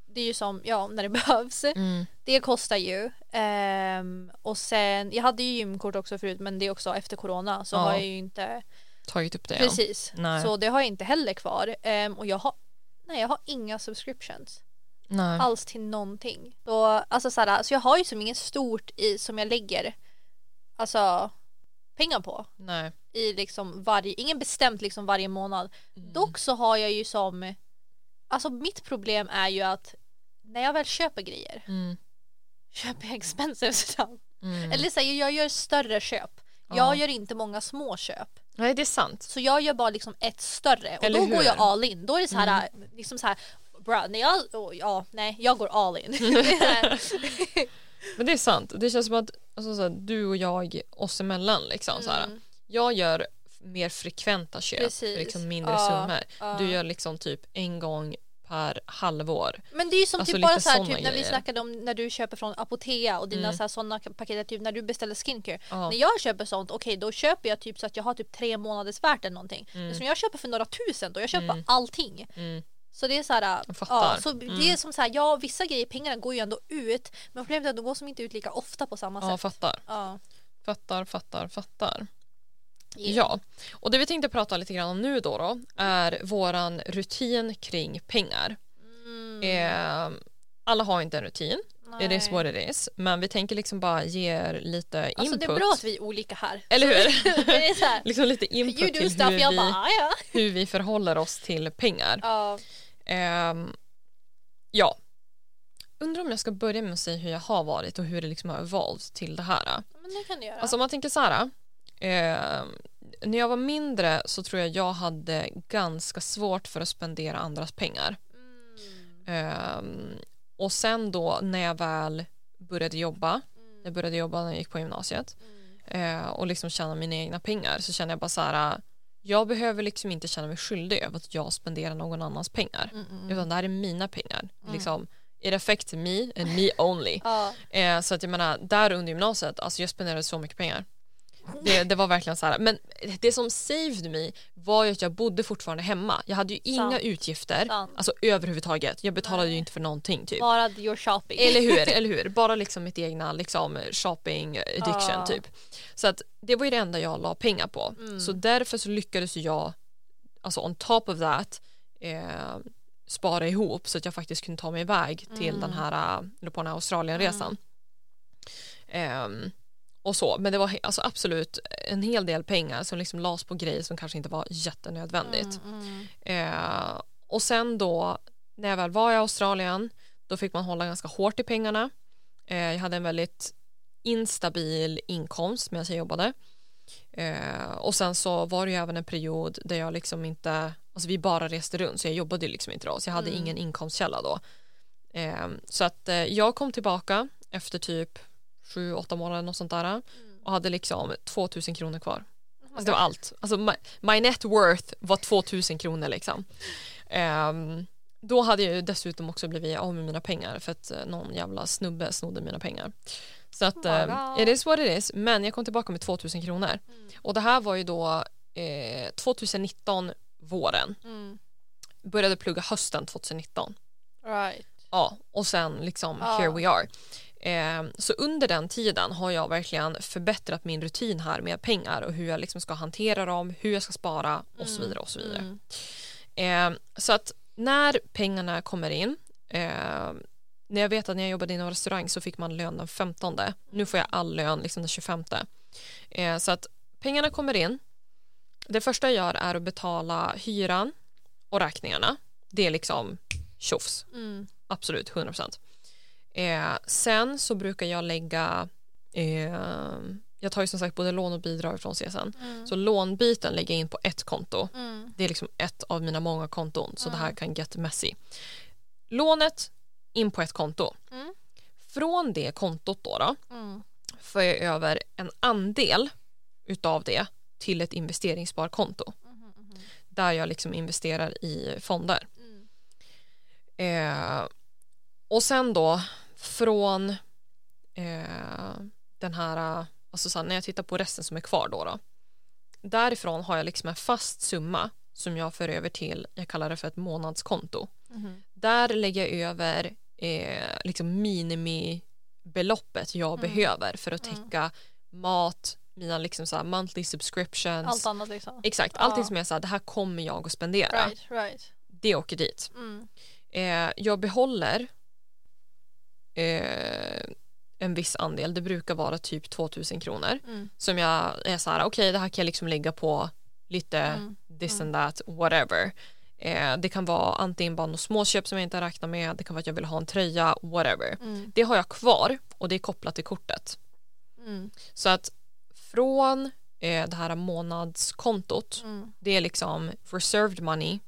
Speaker 2: det är ju som, ja när det behövs.
Speaker 1: Mm.
Speaker 2: Det kostar ju. Ehm, och sen, jag hade ju gymkort också förut men det är också efter corona så
Speaker 1: Ja.
Speaker 2: har jag ju inte
Speaker 1: tagit upp det än.
Speaker 2: Precis.
Speaker 1: Nej.
Speaker 2: Så det har jag inte heller kvar. Ehm, och jag har, nej, jag har inga subscriptions
Speaker 1: Nej.
Speaker 2: alls till någonting. Så, alltså, så, här, så jag har ju som inget stort i som jag lägger alltså, pengar på.
Speaker 1: Nej.
Speaker 2: I liksom varje, ingen bestämt liksom varje månad.
Speaker 1: Mm.
Speaker 2: Dock så har jag ju som, alltså mitt problem är ju att när jag väl köper grejer
Speaker 1: Mm.
Speaker 2: köper jag expensive stuff.
Speaker 1: Mm.
Speaker 2: Eller så här, jag gör större köp.
Speaker 1: Ja.
Speaker 2: Jag gör inte många små köp.
Speaker 1: Nej, det är sant.
Speaker 2: Så jag gör bara liksom ett större och
Speaker 1: Eller
Speaker 2: då
Speaker 1: hur? Mm.
Speaker 2: går jag all in. Då är det så här, liksom så här bra, när jag, åh, ja, nej, jag går all in.
Speaker 1: Men det är sant. Det känns som att alltså, så här, du och jag oss emellan liksom så här. Jag gör f- mer frekventa köp
Speaker 2: Mm. Precis.
Speaker 1: för liksom mindre
Speaker 2: Ja,
Speaker 1: summor.
Speaker 2: ja.
Speaker 1: Du gör liksom typ en gång per halvår.
Speaker 2: Men det är ju som
Speaker 1: Alltså
Speaker 2: typ bara
Speaker 1: lite
Speaker 2: så här,
Speaker 1: såna
Speaker 2: typ när vi
Speaker 1: grejer.
Speaker 2: snackade om när du köper från Apotea och dina
Speaker 1: Mm.
Speaker 2: så här, sådana paket, typ när du beställer skincare.
Speaker 1: Ja.
Speaker 2: När jag köper sånt, okej då köper jag typ så att jag har typ tre månaders värt eller någonting. Men som jag köper för några tusen då, jag köper allting.
Speaker 1: Mm.
Speaker 2: Så det är så här,
Speaker 1: Jag fattar. Mm.
Speaker 2: ja, så det är som så här, ja vissa grejer, pengarna går ju ändå ut. Men problemet är att de går som inte ut lika ofta på samma
Speaker 1: Ja,
Speaker 2: sätt.
Speaker 1: fattar.
Speaker 2: Ja.
Speaker 1: Fattar, fattar, fattar.
Speaker 2: Yeah.
Speaker 1: Ja, och det vi tänkte prata lite grann om nu då, då är våran rutin kring pengar.
Speaker 2: Mm,
Speaker 1: Eh, alla har inte en rutin, it is
Speaker 2: nej.
Speaker 1: what it is, men vi tänker liksom bara ge er lite input.
Speaker 2: Alltså det är bra att vi är olika här.
Speaker 1: Eller hur?
Speaker 2: det är så här,
Speaker 1: liksom lite
Speaker 2: you
Speaker 1: input
Speaker 2: do
Speaker 1: till
Speaker 2: stuff,
Speaker 1: hur
Speaker 2: jag bara
Speaker 1: vi,
Speaker 2: ah, ja.
Speaker 1: hur vi förhåller oss till pengar.
Speaker 2: ja.
Speaker 1: Ehm, ja. Undrar om jag ska börja med att säga hur jag har varit och hur det liksom har evolved till det här.
Speaker 2: Men det kan du göra.
Speaker 1: Alltså om man tänker så här. Eh, när jag var mindre så tror jag jag hade ganska svårt för att spendera andras pengar.
Speaker 2: mm,
Speaker 1: Eh, och sen då när jag väl började jobba,
Speaker 2: Mm.
Speaker 1: jag började jobba när jag gick på gymnasiet
Speaker 2: mm,
Speaker 1: eh, och liksom tjäna mina egna pengar så kände jag bara så här. Jag behöver liksom inte känna mig skyldig över att jag spenderar någon annans pengar.
Speaker 2: mm, mm.
Speaker 1: Utan det här är mina pengar. Liksom, it affects me and me only.
Speaker 2: Ja.
Speaker 1: Eh, så att jag menar, där under gymnasiet, alltså jag spenderade så mycket pengar. Det, det var verkligen så här. Men det som saved me var ju att jag bodde fortfarande hemma. Jag hade ju inga
Speaker 2: Sant.
Speaker 1: utgifter,
Speaker 2: Sant.
Speaker 1: alltså överhuvudtaget. Jag betalade ju inte för någonting typ.
Speaker 2: Bara your shopping.
Speaker 1: Eller hur, eller hur? Bara liksom mitt egna liksom, shopping addiction
Speaker 2: Ja. Mm.
Speaker 1: typ. Så att det var ju det enda jag la pengar på. Så därför så lyckades ju jag, alltså on top of that, eh, spara ihop så att jag faktiskt kunde ta mig iväg till
Speaker 2: Mm.
Speaker 1: den här, eh, eller på den här Australienresan. Ehm, och så, men det var he- alltså absolut en hel del pengar som liksom lades på grejer som kanske inte var jättenödvändigt.
Speaker 2: Mm,
Speaker 1: Eh, och sen då när jag väl var i Australien då fick man hålla ganska hårt i pengarna. Eh, jag hade en väldigt instabil inkomst medan jag jobbade. Eh, och sen så var det ju även en period där jag liksom inte, alltså vi bara reste runt så jag jobbade ju liksom inte då så jag hade ingen inkomstkälla då. Eh, så att eh, jag kom tillbaka efter typ sju, åtta månader något sånt där och hade liksom 2000 kronor kvar. Alltså det var allt. Alltså my, my net worth var 2000 kronor liksom. Ehm, då hade jag ju dessutom också blivit av med mina pengar för att eh, någon jävla snubbe snodde mina pengar. Så att eh,
Speaker 2: Wow.
Speaker 1: it is what it is. Men jag kom tillbaka med 2000 kronor. Och det här var ju då eh, 2019 våren.
Speaker 2: mm,
Speaker 1: Började plugga hösten 2019.
Speaker 2: right.
Speaker 1: Ja, och sen liksom
Speaker 2: Ja.
Speaker 1: here we are. Ehm, så under den tiden har jag verkligen förbättrat min rutin här med pengar och hur jag liksom ska hantera dem, hur jag ska spara och så vidare och så vidare.
Speaker 2: Mm.
Speaker 1: Ehm, så att när pengarna kommer in, ehm, när jag vet att när jag jobbade inom restaurang så fick man lön den 15. Nu får jag all lön liksom den 25. Ehm, så att pengarna kommer in. Det första jag gör är att betala hyran och räkningarna. Det är liksom tjofs.
Speaker 2: Mm.
Speaker 1: Absolut, 100 procent. Eh, sen så brukar jag lägga... Eh, jag tar ju som sagt både lån och bidrag från CSN. Så lånbiten lägger jag in på ett konto.
Speaker 2: Mm.
Speaker 1: Det är liksom ett av mina många konton, så det här kan get messy. Lånet in på ett konto.
Speaker 2: Mm.
Speaker 1: Från det kontot då, då
Speaker 2: Mm.
Speaker 1: för jag över en andel utav det till ett investeringssparkonto där jag liksom investerar i fonder.
Speaker 2: Mm.
Speaker 1: Eh, och sen då från eh, den här, eh, alltså så här, när jag tittar på resten som är kvar då, då. Därifrån har jag liksom en fast summa som jag för över till, jag kallar det för ett månadskonto.
Speaker 2: Mhm.
Speaker 1: Där lägger jag över eh,
Speaker 2: Mm.
Speaker 1: liksom minimibeloppet jag behöver för att täcka mat, mina liksom så här monthly subscriptions.
Speaker 2: Allt annat liksom.
Speaker 1: Exakt, allting
Speaker 2: Ja.
Speaker 1: som jag säger det här kommer jag att spendera.
Speaker 2: Right, right.
Speaker 1: Det åker dit.
Speaker 2: Mm.
Speaker 1: Eh, jag behåller eh, en viss andel, det brukar vara typ 2000 kronor.
Speaker 2: Mm.
Speaker 1: Som jag är så här, okej det här kan jag liksom lägga på lite
Speaker 2: Mm.
Speaker 1: this and that, whatever. Eh, det kan vara antingen bara några småköp som jag inte räknar med, det kan vara att jag vill ha en tröja, whatever.
Speaker 2: Mm.
Speaker 1: Det har jag kvar och det är kopplat till kortet.
Speaker 2: Mm.
Speaker 1: Så att från eh, det här månadskontot,
Speaker 2: Mm.
Speaker 1: det är liksom reserved money.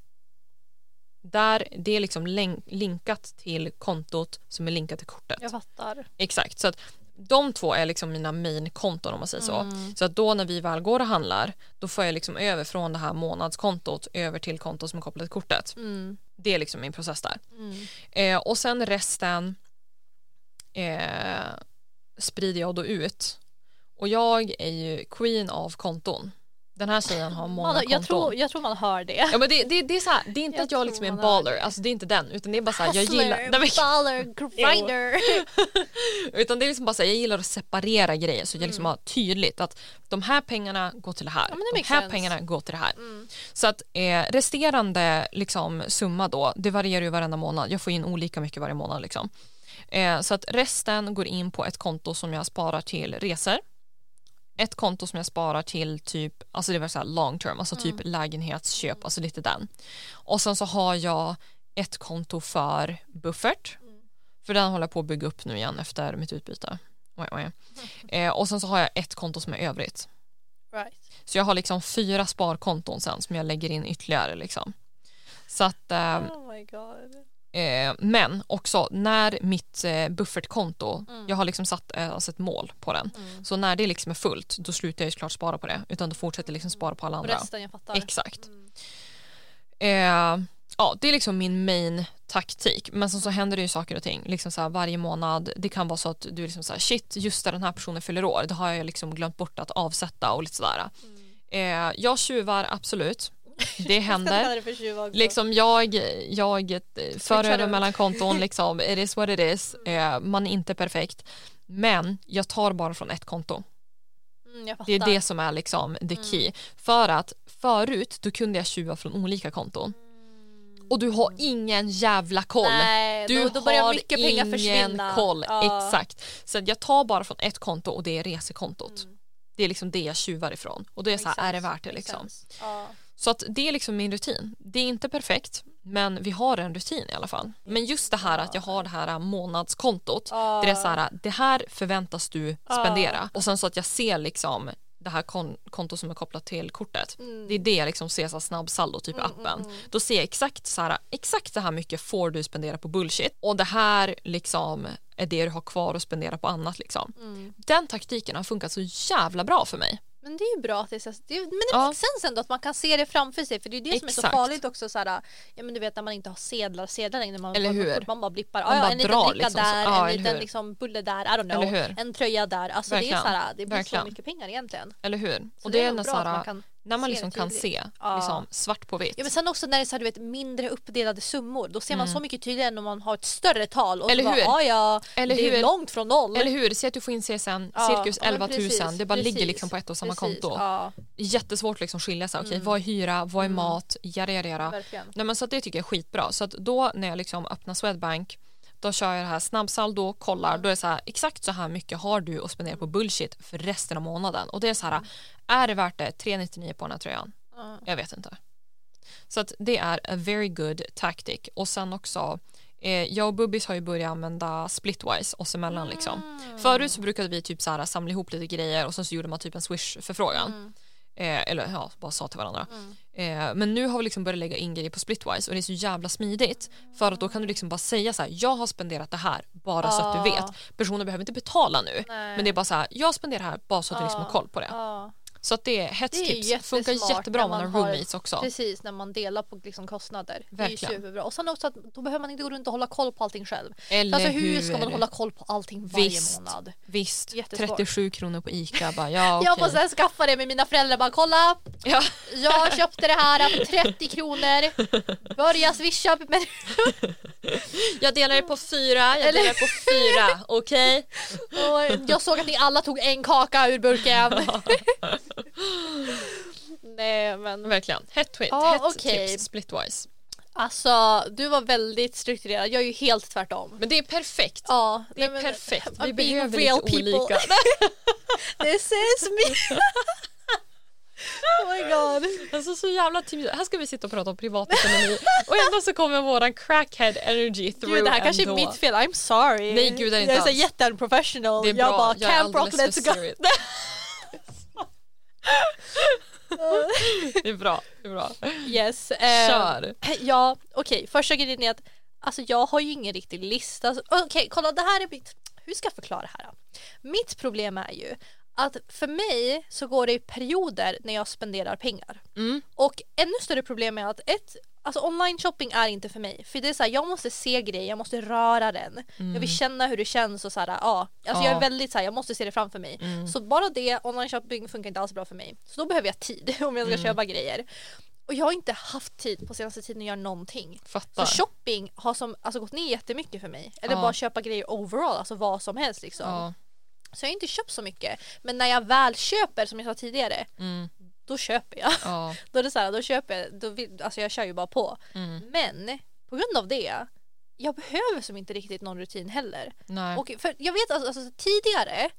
Speaker 1: Där det är liksom län- linkat till kontot som är linkat till kortet.
Speaker 2: Jag fattar.
Speaker 1: Exakt, så att de två är liksom mina main-konton om man säger så.
Speaker 2: Mm.
Speaker 1: Så att då när vi väl går och handlar då får jag liksom över från det här månadskontot över till kontot som är kopplat till kortet.
Speaker 2: Mm.
Speaker 1: Det är liksom min process där.
Speaker 2: Mm.
Speaker 1: Eh, och sen resten eh, sprider jag då ut. Och jag är ju queen av konton. Den här tjejen har många
Speaker 2: Man, jag,
Speaker 1: konton.
Speaker 2: tror, jag tror man hör det.
Speaker 1: Ja, men det, det, det, är så här, det är inte
Speaker 2: Jag
Speaker 1: att jag
Speaker 2: tror
Speaker 1: liksom är en
Speaker 2: man har Alltså,
Speaker 1: baller, alltså det är inte den utan det är bara så här, jag
Speaker 2: Hustler,
Speaker 1: gillar, nej, men,
Speaker 2: baller, grinder.
Speaker 1: utan det är liksom bara så här, jag gillar att separera grejer så jag liksom har tydligt att de här pengarna går till det här,
Speaker 2: Mm. Ja, men det
Speaker 1: de
Speaker 2: makes
Speaker 1: här
Speaker 2: sense.
Speaker 1: pengarna går till det här.
Speaker 2: Mm.
Speaker 1: Så att eh, resterande liksom, summa då, det varierar ju varenda månad. Jag får in olika mycket varje månad. Liksom. Eh, så att resten går in på ett konto som jag sparar till resor. Ett konto som jag sparar till typ, alltså det var så här long term, alltså typ
Speaker 2: Mm.
Speaker 1: lägenhetsköp, alltså lite den. Och sen så har jag ett konto för buffert. För den håller jag på att bygga upp nu igen efter mitt utbyte. Oj, oj. Eh, och sen så har jag ett konto som är övrigt.
Speaker 2: Right.
Speaker 1: Så jag har liksom fyra sparkonton sen som jag lägger in ytterligare liksom. Så att, eh,
Speaker 2: Oh my god.
Speaker 1: eh, men också när mitt eh, buffertkonto,
Speaker 2: Mm.
Speaker 1: jag har liksom satt eh, alltså ett mål på den.
Speaker 2: Mm.
Speaker 1: Så när det liksom är fullt då slutar jag ju såklart spara på det utan då fortsätter jag liksom spara på alla
Speaker 2: Och
Speaker 1: andra.
Speaker 2: resten, jag fattar.
Speaker 1: Exakt.
Speaker 2: Mm.
Speaker 1: Eh, ja, det är liksom min main taktik. Men sen så händer det ju saker och ting. Liksom så här, varje månad, det kan vara så att du är liksom så här, shit, just där den här personen fyller år, det har jag liksom glömt bort att avsätta och lite sådär.
Speaker 2: Mm.
Speaker 1: Eh, jag tjuvar absolut. Det
Speaker 2: Jag
Speaker 1: händer.
Speaker 2: kallar det för tjuv också.
Speaker 1: Liksom jag, jag eh, för över
Speaker 2: runt.
Speaker 1: mellan konton, liksom, it is what it is. Eh, man är inte perfekt. Men jag tar bara från ett konto.
Speaker 2: Mm, jag
Speaker 1: Det är
Speaker 2: fattar. Mm.
Speaker 1: det som är liksom the key. För att förut då kunde jag tjuva från olika konton. Och du har ingen jävla koll.
Speaker 2: Mm. Nej,
Speaker 1: Du
Speaker 2: då, då börjar
Speaker 1: har
Speaker 2: mycket pengar
Speaker 1: ingen
Speaker 2: försvinna.
Speaker 1: koll.
Speaker 2: Ja.
Speaker 1: Exakt. Så att jag tar bara från ett konto och det är resekontot.
Speaker 2: Mm.
Speaker 1: Det är liksom det jag tjuvar ifrån. Och då är jag så här,
Speaker 2: Makes
Speaker 1: är det
Speaker 2: sense,
Speaker 1: värt det
Speaker 2: makes
Speaker 1: liksom?
Speaker 2: sense. Ja.
Speaker 1: Så att det är liksom min rutin. Det är inte perfekt, men vi har en rutin i alla fall. Men just det här att jag har det här månadskontot.
Speaker 2: Ja.
Speaker 1: Där det är så här, det här förväntas du
Speaker 2: Ah.
Speaker 1: spendera. Och sen så att jag ser liksom det här kon- kontot som är kopplat till kortet.
Speaker 2: Mm.
Speaker 1: Det är det jag liksom ser så här snabbsaldo, typ i appen. Då ser jag exakt så här, exakt det här mycket får du spendera på bullshit. Och det här liksom är det du har kvar att spendera på annat liksom.
Speaker 2: Mm.
Speaker 1: Den taktiken har funkat så jävla bra för mig.
Speaker 2: Men det är ju bra att det är så, det är, men det
Speaker 1: Ja.
Speaker 2: makes sense ändå att man kan se det framför sig för det är ju det som är
Speaker 1: Exakt.
Speaker 2: så farligt också så här, ja men du vet när man inte har sedlar sedlar längre man,
Speaker 1: Eller
Speaker 2: man,
Speaker 1: hur?
Speaker 2: man bara blippar,
Speaker 1: Man
Speaker 2: ja, ja,
Speaker 1: bara
Speaker 2: en liten
Speaker 1: drar
Speaker 2: bricka
Speaker 1: liksom så.
Speaker 2: där,
Speaker 1: Ja, eller
Speaker 2: en liten
Speaker 1: hur?
Speaker 2: liksom bulle där, I don't know,
Speaker 1: Eller hur?
Speaker 2: en tröja där, alltså det
Speaker 1: Verkligen.
Speaker 2: är så här, det blir
Speaker 1: Verkligen.
Speaker 2: så mycket pengar egentligen.
Speaker 1: Eller hur?
Speaker 2: Så
Speaker 1: och det, är
Speaker 2: nog
Speaker 1: ändå
Speaker 2: bra
Speaker 1: så
Speaker 2: att
Speaker 1: här,
Speaker 2: kan
Speaker 1: när man
Speaker 2: se
Speaker 1: liksom
Speaker 2: det
Speaker 1: kan
Speaker 2: tydligt.
Speaker 1: se
Speaker 2: Ja.
Speaker 1: liksom, svart på vitt.
Speaker 2: Ja, men sen också när det är så här, du vet, mindre uppdelade summor, då ser man så mycket tydligare än om man har ett större tal och
Speaker 1: Mm. Eller
Speaker 2: så bara,
Speaker 1: hur?
Speaker 2: ja, ja,
Speaker 1: Eller
Speaker 2: det är
Speaker 1: hur?
Speaker 2: långt från noll.
Speaker 1: Eller hur? Se att du får in CSN,
Speaker 2: Ja,
Speaker 1: cirkus
Speaker 2: ja, men
Speaker 1: 11 000.
Speaker 2: precis,
Speaker 1: det bara ligger
Speaker 2: precis,
Speaker 1: liksom på ett och samma
Speaker 2: precis,
Speaker 1: konto.
Speaker 2: Ja, Mm.
Speaker 1: Det är jättesvårt att liksom skilja sig. Okej, vad är hyra? Vad är mat? Jada, jada, jada.
Speaker 2: verkligen.
Speaker 1: Nej, men så att det tycker jag är skitbra. Så att då när jag liksom öppnar Swedbank då kör jag det här snabbsaldo, kollar, då är det så här exakt så här mycket har du att spendera på bullshit för resten av månaden. Och det är så
Speaker 2: Mm.
Speaker 1: här, är det värt det? 399 på den här tröjan?
Speaker 2: Ja.
Speaker 1: Jag vet inte. Så att det är a very good tactic. Och sen också, eh, jag och Bubbis har ju börjat använda splitwise oss emellan liksom.
Speaker 2: Ah.
Speaker 1: Förut så brukade vi typ så här samla ihop lite grejer och sen så gjorde man typ en swish-förfrågan.
Speaker 2: Mm.
Speaker 1: Eh, eller ja, bara sa till varandra. Eh, men nu har vi liksom börjat lägga in grejer på splitwise och det är så jävla smidigt. För att då kan du liksom bara säga så här, jag har spenderat det här bara så att du
Speaker 2: Ah.
Speaker 1: vet. Personen behöver inte betala nu.
Speaker 2: Nej.
Speaker 1: Men det är bara så här, jag spenderar det här bara så att du liksom
Speaker 2: Ah.
Speaker 1: har koll på det.
Speaker 2: Ja.
Speaker 1: Så att det är
Speaker 2: Det är
Speaker 1: hetstips.
Speaker 2: jättesmart
Speaker 1: Funkar jättebra om
Speaker 2: när
Speaker 1: man
Speaker 2: man
Speaker 1: har
Speaker 2: har-
Speaker 1: roommates också.
Speaker 2: Precis, när man delar på liksom kostnader. Det är
Speaker 1: Verkligen.
Speaker 2: ju superbra. Och sen också att då behöver man inte gå runt och hålla koll på allting själv.
Speaker 1: Eller
Speaker 2: Alltså hur ska man hålla koll på allting varje
Speaker 1: Visst.
Speaker 2: månad?
Speaker 1: Visst,
Speaker 2: Jättesvårt.
Speaker 1: 37 kronor på ICA. Bara, ja,
Speaker 2: Jag
Speaker 1: okej.
Speaker 2: måste sen skaffa det med mina föräldrar bara kolla,
Speaker 1: ja,
Speaker 2: jag köpte det här för 30 kronor, börja swisha men
Speaker 1: jag delar det på fyra, jag
Speaker 2: Eller-
Speaker 1: delar det på fyra, okej?
Speaker 2: och jag såg att ni alla tog en kaka ur burken. Nej men
Speaker 1: Verkligen. Hett hett
Speaker 2: Ja,
Speaker 1: hett
Speaker 2: okej.
Speaker 1: tips, splitwise.
Speaker 2: alltså du var väldigt strukturerad, jag är ju helt tvärtom.
Speaker 1: Men det är perfekt.
Speaker 2: Ja,
Speaker 1: Det är
Speaker 2: nej, men-
Speaker 1: perfekt.
Speaker 2: I'm
Speaker 1: Vi
Speaker 2: being
Speaker 1: behöver lite
Speaker 2: real people.
Speaker 1: olika.
Speaker 2: This is me! oh my god.
Speaker 1: Alltså så jävla typiskt. Här ska vi sitta och prata om privatekonomi och ändå så kommer våran crackhead energy through
Speaker 2: Gud, det här kanske är
Speaker 1: ändå.
Speaker 2: mitt fel, I'm sorry.
Speaker 1: Nej, gud, det är inte
Speaker 2: jag är så
Speaker 1: alls.
Speaker 2: jätteunprofessional.
Speaker 1: Det är bra,
Speaker 2: Jag bara,
Speaker 1: jag är
Speaker 2: camp rock,
Speaker 1: alldeles
Speaker 2: let's
Speaker 1: för
Speaker 2: go.
Speaker 1: serious. det är bra, det är bra.
Speaker 2: Yes. eh,
Speaker 1: Kör.
Speaker 2: Ja, okej, första grejen är att alltså, jag har ju ingen riktig lista. Alltså, Okej, kolla, det här är mitt... Hur ska jag förklara det här? då? Mitt problem är ju att för mig så går det i perioder när jag spenderar pengar.
Speaker 1: Mm.
Speaker 2: Och ännu större problem är att ett, alltså online shopping är inte för mig. För det är så här, jag måste se grejer, jag måste röra den. Jag vill känna hur det känns och så här, ja. Alltså
Speaker 1: Mm. Ja. Mm.
Speaker 2: jag är väldigt så här, jag måste se det framför mig. Så bara det, online shopping funkar inte alls bra för mig. Så då behöver jag tid om jag ska
Speaker 1: Mm.
Speaker 2: köpa grejer. Och jag har inte haft tid på senaste tiden att göra någonting.
Speaker 1: Fattar.
Speaker 2: Så shopping har som, alltså, gått ner jättemycket för mig. Eller
Speaker 1: Ja.
Speaker 2: bara köpa grejer overall, alltså vad som helst liksom.
Speaker 1: Ja.
Speaker 2: Så jag har inte köpt så mycket. Men när jag väl köper, som jag sa tidigare,
Speaker 1: Mm.
Speaker 2: då köper jag
Speaker 1: Ja.
Speaker 2: då är det så här, då köper jag, då vill, alltså jag kör ju bara på.
Speaker 1: Mm.
Speaker 2: Men på grund av det, jag behöver som inte riktigt någon rutin heller.
Speaker 1: Nej.
Speaker 2: Och för jag vet alltså, alltså tidigare,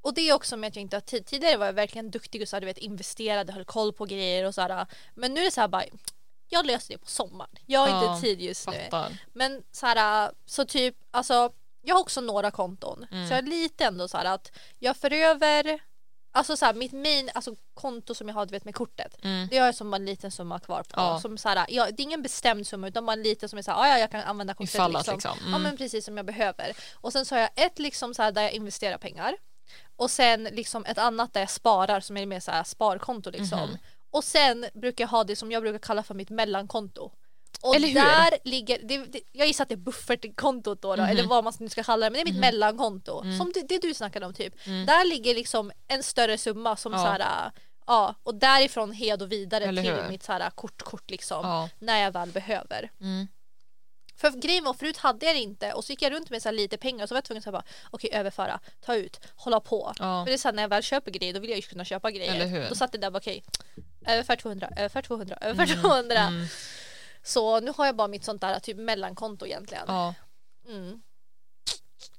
Speaker 2: och det är också med att jag inte har tid. Tidigare var jag verkligen duktig och så här, du vet, investerade, höll koll på grejer och så här. Men nu är det så här bara, jag löser det på sommaren. Jag har
Speaker 1: Ja,
Speaker 2: inte tid just nu.
Speaker 1: Fattar.
Speaker 2: Men så här, så typ, alltså jag har också några konton.
Speaker 1: Mm.
Speaker 2: Så jag är lite ändå så här att jag för över, alltså så här, mitt main, alltså konto som jag har du vet med kortet.
Speaker 1: Mm.
Speaker 2: Det har jag som en liten summa kvar på.
Speaker 1: Ja.
Speaker 2: Som så här, ja, det är ingen bestämd summa utan bara en liten som är så här, "Ah, ja, ja jag kan använda kortet
Speaker 1: Ifall att liksom,
Speaker 2: Ja
Speaker 1: mm.
Speaker 2: men precis som jag behöver. Och sen så har jag ett liksom så här där jag investerar pengar. Och sen liksom ett annat där jag sparar som är mer så här sparkonto liksom.
Speaker 1: Mhm.
Speaker 2: Och sen brukar jag ha det som jag brukar kalla för mitt mellankonto. Och
Speaker 1: Eller hur?
Speaker 2: där ligger, det, det, jag gissar att det är buffertkontot då, då
Speaker 1: Mhm.
Speaker 2: eller vad man nu ska kalla det, men det är mitt mellankonto.
Speaker 1: Mm.
Speaker 2: Som det, det du snackade om typ. Där ligger liksom en större summa som
Speaker 1: Ja.
Speaker 2: så här, ja, och därifrån hed och vidare
Speaker 1: Eller
Speaker 2: till
Speaker 1: hur?
Speaker 2: mitt så här kortkort liksom.
Speaker 1: mm. Ja.
Speaker 2: När jag väl behöver.
Speaker 1: Mm.
Speaker 2: För grejen var förut hade jag det inte och så gick jag runt med så här lite pengar och så var jag tvungen att bara okej överföra, ta ut, hålla på.
Speaker 1: Ja.
Speaker 2: För det är så här, när jag väl köper grejer då vill jag ju kunna köpa grejer.
Speaker 1: Eller hur? Mm.
Speaker 2: Då satt det där bara okej, överför 200, överför 200, överför 200. Så nu har jag bara mitt sånt där typ mellankonto egentligen. Ja.
Speaker 1: Ja.
Speaker 2: Mm.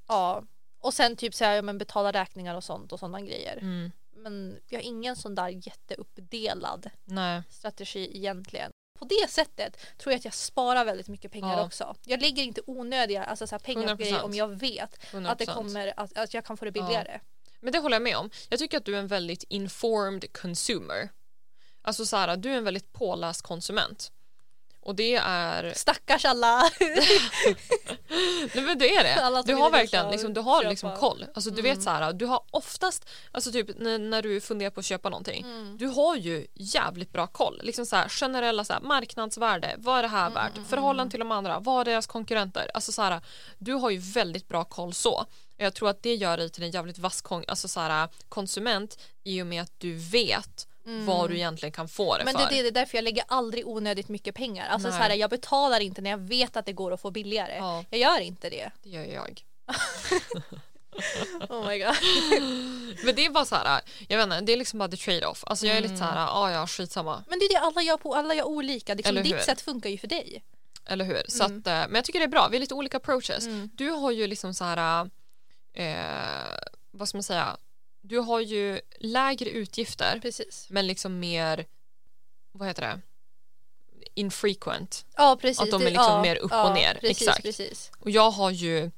Speaker 2: ja. Och sen typ så här, ja, men betala räkningar och sånt och sådana grejer.
Speaker 1: Mm.
Speaker 2: Men jag har ingen sån där jätteuppdelad
Speaker 1: Nej.
Speaker 2: strategi egentligen. På det sättet tror jag att jag sparar väldigt mycket pengar
Speaker 1: Ja.
Speaker 2: också. Jag lägger inte onödiga alltså så här pengar
Speaker 1: 100%.
Speaker 2: på grejer om jag vet att, det
Speaker 1: 100%.
Speaker 2: kommer, att, att jag kan få det billigare.
Speaker 1: Men det håller jag med om. Jag tycker att du är en väldigt informed consumer. Alltså så här, du är en väldigt påläst konsument. Och det är...
Speaker 2: Stackars alla!
Speaker 1: Nej men det är
Speaker 2: Alla
Speaker 1: det.
Speaker 2: som
Speaker 1: Du
Speaker 2: vill
Speaker 1: har
Speaker 2: resa
Speaker 1: verkligen
Speaker 2: och
Speaker 1: liksom, du har
Speaker 2: köpa. Mm.
Speaker 1: liksom koll. Alltså du vet så här, du har oftast, alltså typ när, när du funderar på att köpa någonting,
Speaker 2: Mm.
Speaker 1: du har ju jävligt bra koll. Liksom så här, generella så här, marknadsvärde, vad är det
Speaker 2: Mm,
Speaker 1: här värt? Förhållande till de andra, vad är deras konkurrenter? Alltså så här, du har ju väldigt bra koll så. Jag tror att det gör dig till en jävligt vass kon- alltså så här, konsument i och med att du vet vad du egentligen kan få det
Speaker 2: Mm. Men det,
Speaker 1: för.
Speaker 2: det, det är därför jag lägger aldrig onödigt mycket pengar. Alltså så
Speaker 1: Nej.
Speaker 2: här, jag betalar inte när jag vet att det går att få billigare.
Speaker 1: Ja.
Speaker 2: Jag gör inte det.
Speaker 1: det gör jag.
Speaker 2: Oh my god.
Speaker 1: Men det är bara så här, jag vet inte, det är liksom bara the trade-off. Alltså jag är lite så
Speaker 2: Mm.
Speaker 1: här, ja ja skitsamma.
Speaker 2: Men det är det alla gör på, alla gör olika. Liksom,
Speaker 1: Eller hur?
Speaker 2: ditt sätt funkar ju för dig.
Speaker 1: Eller hur? Så
Speaker 2: Mm.
Speaker 1: att, eh, men jag tycker det är bra, vi är lite olika approaches. Du har ju liksom så här, eh, vad ska man säga, du har ju lägre utgifter
Speaker 2: Precis.
Speaker 1: men liksom mer, vad heter det, infrequent.
Speaker 2: Ja precis.
Speaker 1: Att de är
Speaker 2: Det-
Speaker 1: liksom
Speaker 2: ja,
Speaker 1: mer upp och
Speaker 2: ja,
Speaker 1: ner.
Speaker 2: Precis,
Speaker 1: Exakt.
Speaker 2: precis.
Speaker 1: Och jag har ju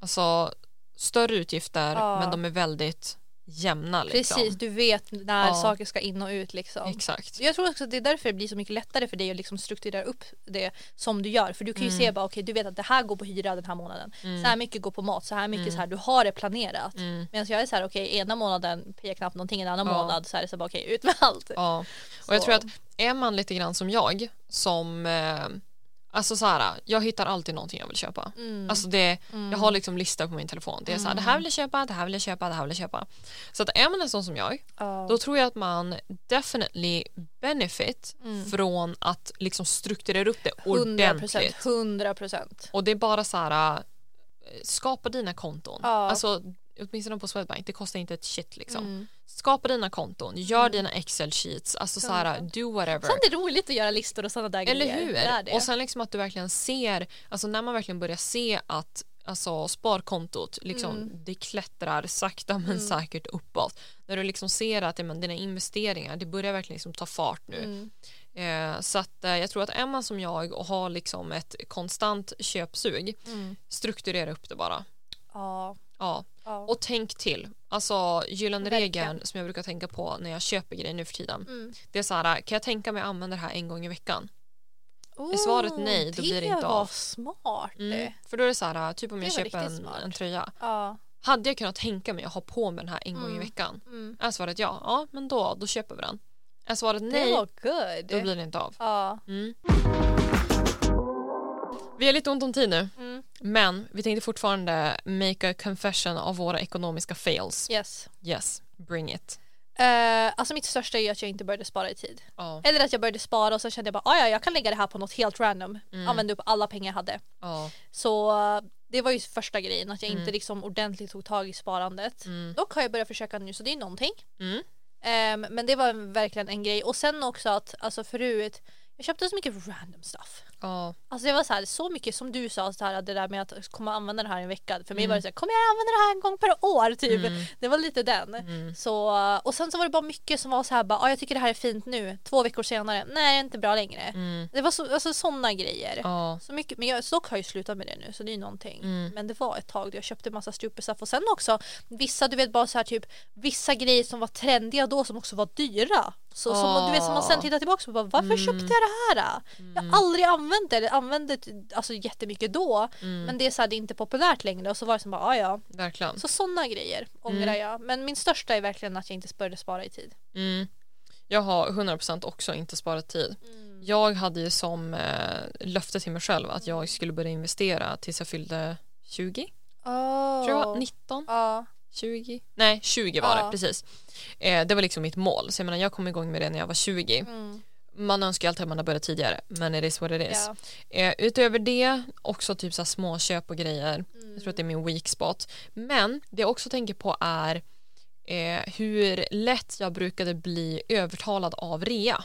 Speaker 1: alltså större utgifter
Speaker 2: Ja.
Speaker 1: men de är väldigt jämna liksom.
Speaker 2: Precis, du vet när
Speaker 1: Ja.
Speaker 2: saker ska in och ut liksom.
Speaker 1: Exakt.
Speaker 2: Jag tror också att det är därför det blir så mycket lättare för dig att liksom strukturera upp det som du gör. För du kan ju
Speaker 1: Mm.
Speaker 2: se bara okej du vet att det här går på hyra den här månaden. Så här mycket går på mat, så här mycket så här. Du har det planerat.
Speaker 1: Mm.
Speaker 2: Medan jag är så här okej ena månaden pekar knappt någonting, en annan
Speaker 1: Ja.
Speaker 2: månad så här är det så här bara okej ut med allt.
Speaker 1: Ja. Och jag
Speaker 2: Så.
Speaker 1: tror att är man lite grann som jag som eh, Alltså så här, jag hittar alltid någonting jag vill köpa.
Speaker 2: Mm.
Speaker 1: Alltså det, Jag har liksom lista på min telefon. Det är så här, det här vill jag köpa, det här vill jag köpa, det här vill jag köpa. Så att är man en sån som jag,
Speaker 2: Ja.
Speaker 1: då tror jag att man definitely benefit
Speaker 2: Mm.
Speaker 1: från att liksom strukturera upp det
Speaker 2: 100
Speaker 1: ordentligt.
Speaker 2: procent, 100 procent.
Speaker 1: Och det är bara så här, äh, skapa dina konton.
Speaker 2: Ja. Mm.
Speaker 1: Alltså, åtminstone på Swedbank, det kostar inte ett shit liksom. Skapa dina konton, gör dina excel sheets, alltså så här, do whatever.
Speaker 2: Sen är det roligt att göra listor och sådana där
Speaker 1: Eller
Speaker 2: grejer.
Speaker 1: hur?
Speaker 2: Det är det.
Speaker 1: Och sen liksom att du verkligen ser, alltså när man verkligen börjar se att alltså sparkontot liksom,
Speaker 2: Mm.
Speaker 1: det klättrar sakta men säkert uppåt. När du liksom ser att ja, men, dina investeringar, det börjar verkligen liksom ta fart nu.
Speaker 2: Mm.
Speaker 1: Eh, så att, eh, jag tror att är man som jag och har liksom ett konstant köpsug,
Speaker 2: Mm.
Speaker 1: strukturera upp det bara.
Speaker 2: Ja.
Speaker 1: Ja.
Speaker 2: ja.
Speaker 1: Och tänk till. Alltså gyllene
Speaker 2: Verkligen.
Speaker 1: regeln som jag brukar tänka på när jag köper grejer nu för tiden.
Speaker 2: Mm.
Speaker 1: Det är så här, kan jag tänka mig att använda det här en gång i veckan? Är svaret nej, då
Speaker 2: det
Speaker 1: blir det inte
Speaker 2: var
Speaker 1: av.
Speaker 2: smart.
Speaker 1: Mm. För då är det så här, typ om
Speaker 2: Eh, Det
Speaker 1: jag
Speaker 2: var
Speaker 1: köper
Speaker 2: riktigt
Speaker 1: en,
Speaker 2: smart.
Speaker 1: en tröja.
Speaker 2: Ja.
Speaker 1: Hade jag kunnat tänka mig att ha på mig den här en gång i
Speaker 2: Mm.
Speaker 1: veckan?
Speaker 2: Mm.
Speaker 1: Är svaret ja, ja men då, då köper vi den. Är svaret
Speaker 2: Det
Speaker 1: nej,
Speaker 2: var good.
Speaker 1: då blir det inte av.
Speaker 2: Ja.
Speaker 1: Mm. Vi har lite ont om tid nu,
Speaker 2: Mm.
Speaker 1: men vi tänkte fortfarande make a confession av våra ekonomiska fails.
Speaker 2: Yes.
Speaker 1: Yes, bring it.
Speaker 2: Eh, alltså mitt största är ju att jag inte började spara i tid.
Speaker 1: Ja,
Speaker 2: Eller att jag började spara och så kände jag bara "Ah, ja, jag kan lägga det här på något helt random.
Speaker 1: Mm.
Speaker 2: Använde upp alla pengar jag hade.
Speaker 1: ja,
Speaker 2: Så eh, det var ju första grejen, att jag inte liksom ordentligt tog tag i sparandet.
Speaker 1: Mm.
Speaker 2: Dock har jag börjat försöka nu så det är någonting.
Speaker 1: mm,
Speaker 2: Ehm, men det var en- verkligen en grej. Och sen också att alltså förut, jag köpte så mycket random stuff.
Speaker 1: ja,
Speaker 2: Alltså det var så, här, så mycket som du sa, så här, det där med att komma använda det här i en vecka. För mig var det så här, kommer jag använda det här en gång per år? Typ. Det var lite den. Så, och sen så var det bara mycket som var så här, bara, ah, jag tycker det här är fint nu. Två veckor senare, nej det är inte bra längre.
Speaker 1: mm,
Speaker 2: Det var så, alltså, sådana grejer.
Speaker 1: ja,
Speaker 2: Så mycket, men jag dock har ju slutat med det nu så det är ju någonting.
Speaker 1: Mm.
Speaker 2: Men det var ett tag då jag köpte massa stupid stuff och sen också vissa du vet bara så här typ vissa grejer som var trendiga då som också var dyra. Så som, man- du vet som man sen
Speaker 1: Ah.
Speaker 2: tittar tillbaka på bara, varför
Speaker 1: Mm.
Speaker 2: köpte jag det här? Jag har aldrig använt det, eller använde det alltså jättemycket då
Speaker 1: Mm.
Speaker 2: men det är så här, det är inte populärt längre och så var det som bara ah, ja.
Speaker 1: verkligen.
Speaker 2: Så sådana grejer ångrar
Speaker 1: Mm.
Speaker 2: jag. Men min största är verkligen att jag inte började spara i tid.
Speaker 1: Mm. Jag har 100% också inte sparat tid. Jag hade ju som eh, löfte till mig själv att jag skulle börja investera tills jag fyllde 20,
Speaker 2: Oh.
Speaker 1: tror jag var, 19,
Speaker 2: Ja.
Speaker 1: 20, nej 20 var det
Speaker 2: Ja.
Speaker 1: precis. Eh, det var liksom mitt mål, så jag menar jag kom igång med det när jag var 20.
Speaker 2: Mm.
Speaker 1: Man önskar ju alltid att man hade börjat tidigare men it is what it is.
Speaker 2: Ja.
Speaker 1: Eh, utöver det också typ så här småköp och grejer, jag tror att det är min weak spot. Men det jag också tänker på är eh, hur lätt jag brukade bli övertalad av rea.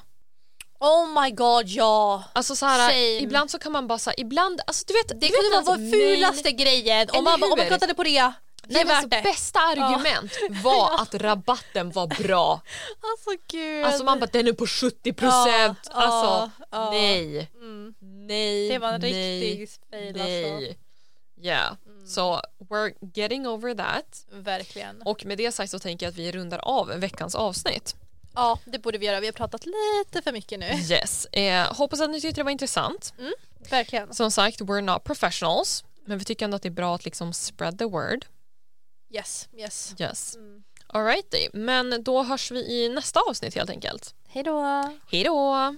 Speaker 2: Oh my god ja!
Speaker 1: Alltså så här,
Speaker 2: Same.
Speaker 1: ibland så kan man bara säga, ibland, alltså du vet,
Speaker 2: Det
Speaker 1: du
Speaker 2: kunde
Speaker 1: vet
Speaker 2: vara vår
Speaker 1: ens
Speaker 2: fulaste grejen.
Speaker 1: Eller
Speaker 2: Om man bara, om
Speaker 1: hur?
Speaker 2: man kollade på det. Det
Speaker 1: Nej,
Speaker 2: är
Speaker 1: men
Speaker 2: värt
Speaker 1: alltså,
Speaker 2: det.
Speaker 1: bästa argument var att rabatten var bra.
Speaker 2: Alltså gud.
Speaker 1: Alltså man bara den är på 70 procent.
Speaker 2: Ja,
Speaker 1: alltså
Speaker 2: ja, ja.
Speaker 1: nej,
Speaker 2: Mm.
Speaker 1: nej,
Speaker 2: Det var en
Speaker 1: nej,
Speaker 2: riktig fail alltså.
Speaker 1: nej. Yeah,
Speaker 2: Mm.
Speaker 1: så we're getting over that.
Speaker 2: Verkligen.
Speaker 1: Och med det sagt så tänker jag att vi rundar av veckans avsnitt.
Speaker 2: Ja det borde vi göra. Vi har pratat lite för mycket nu.
Speaker 1: Yes, eh, hoppas att ni tyckte det var intressant.
Speaker 2: Mm. Verkligen.
Speaker 1: Som sagt, we're not professionals, men vi tycker ändå att det är bra att liksom spread the word.
Speaker 2: Yes, yes.
Speaker 1: Yes.
Speaker 2: Mm.
Speaker 1: Alrighty, men då hörs vi i nästa avsnitt helt enkelt.
Speaker 2: Hej då.
Speaker 1: Hej då!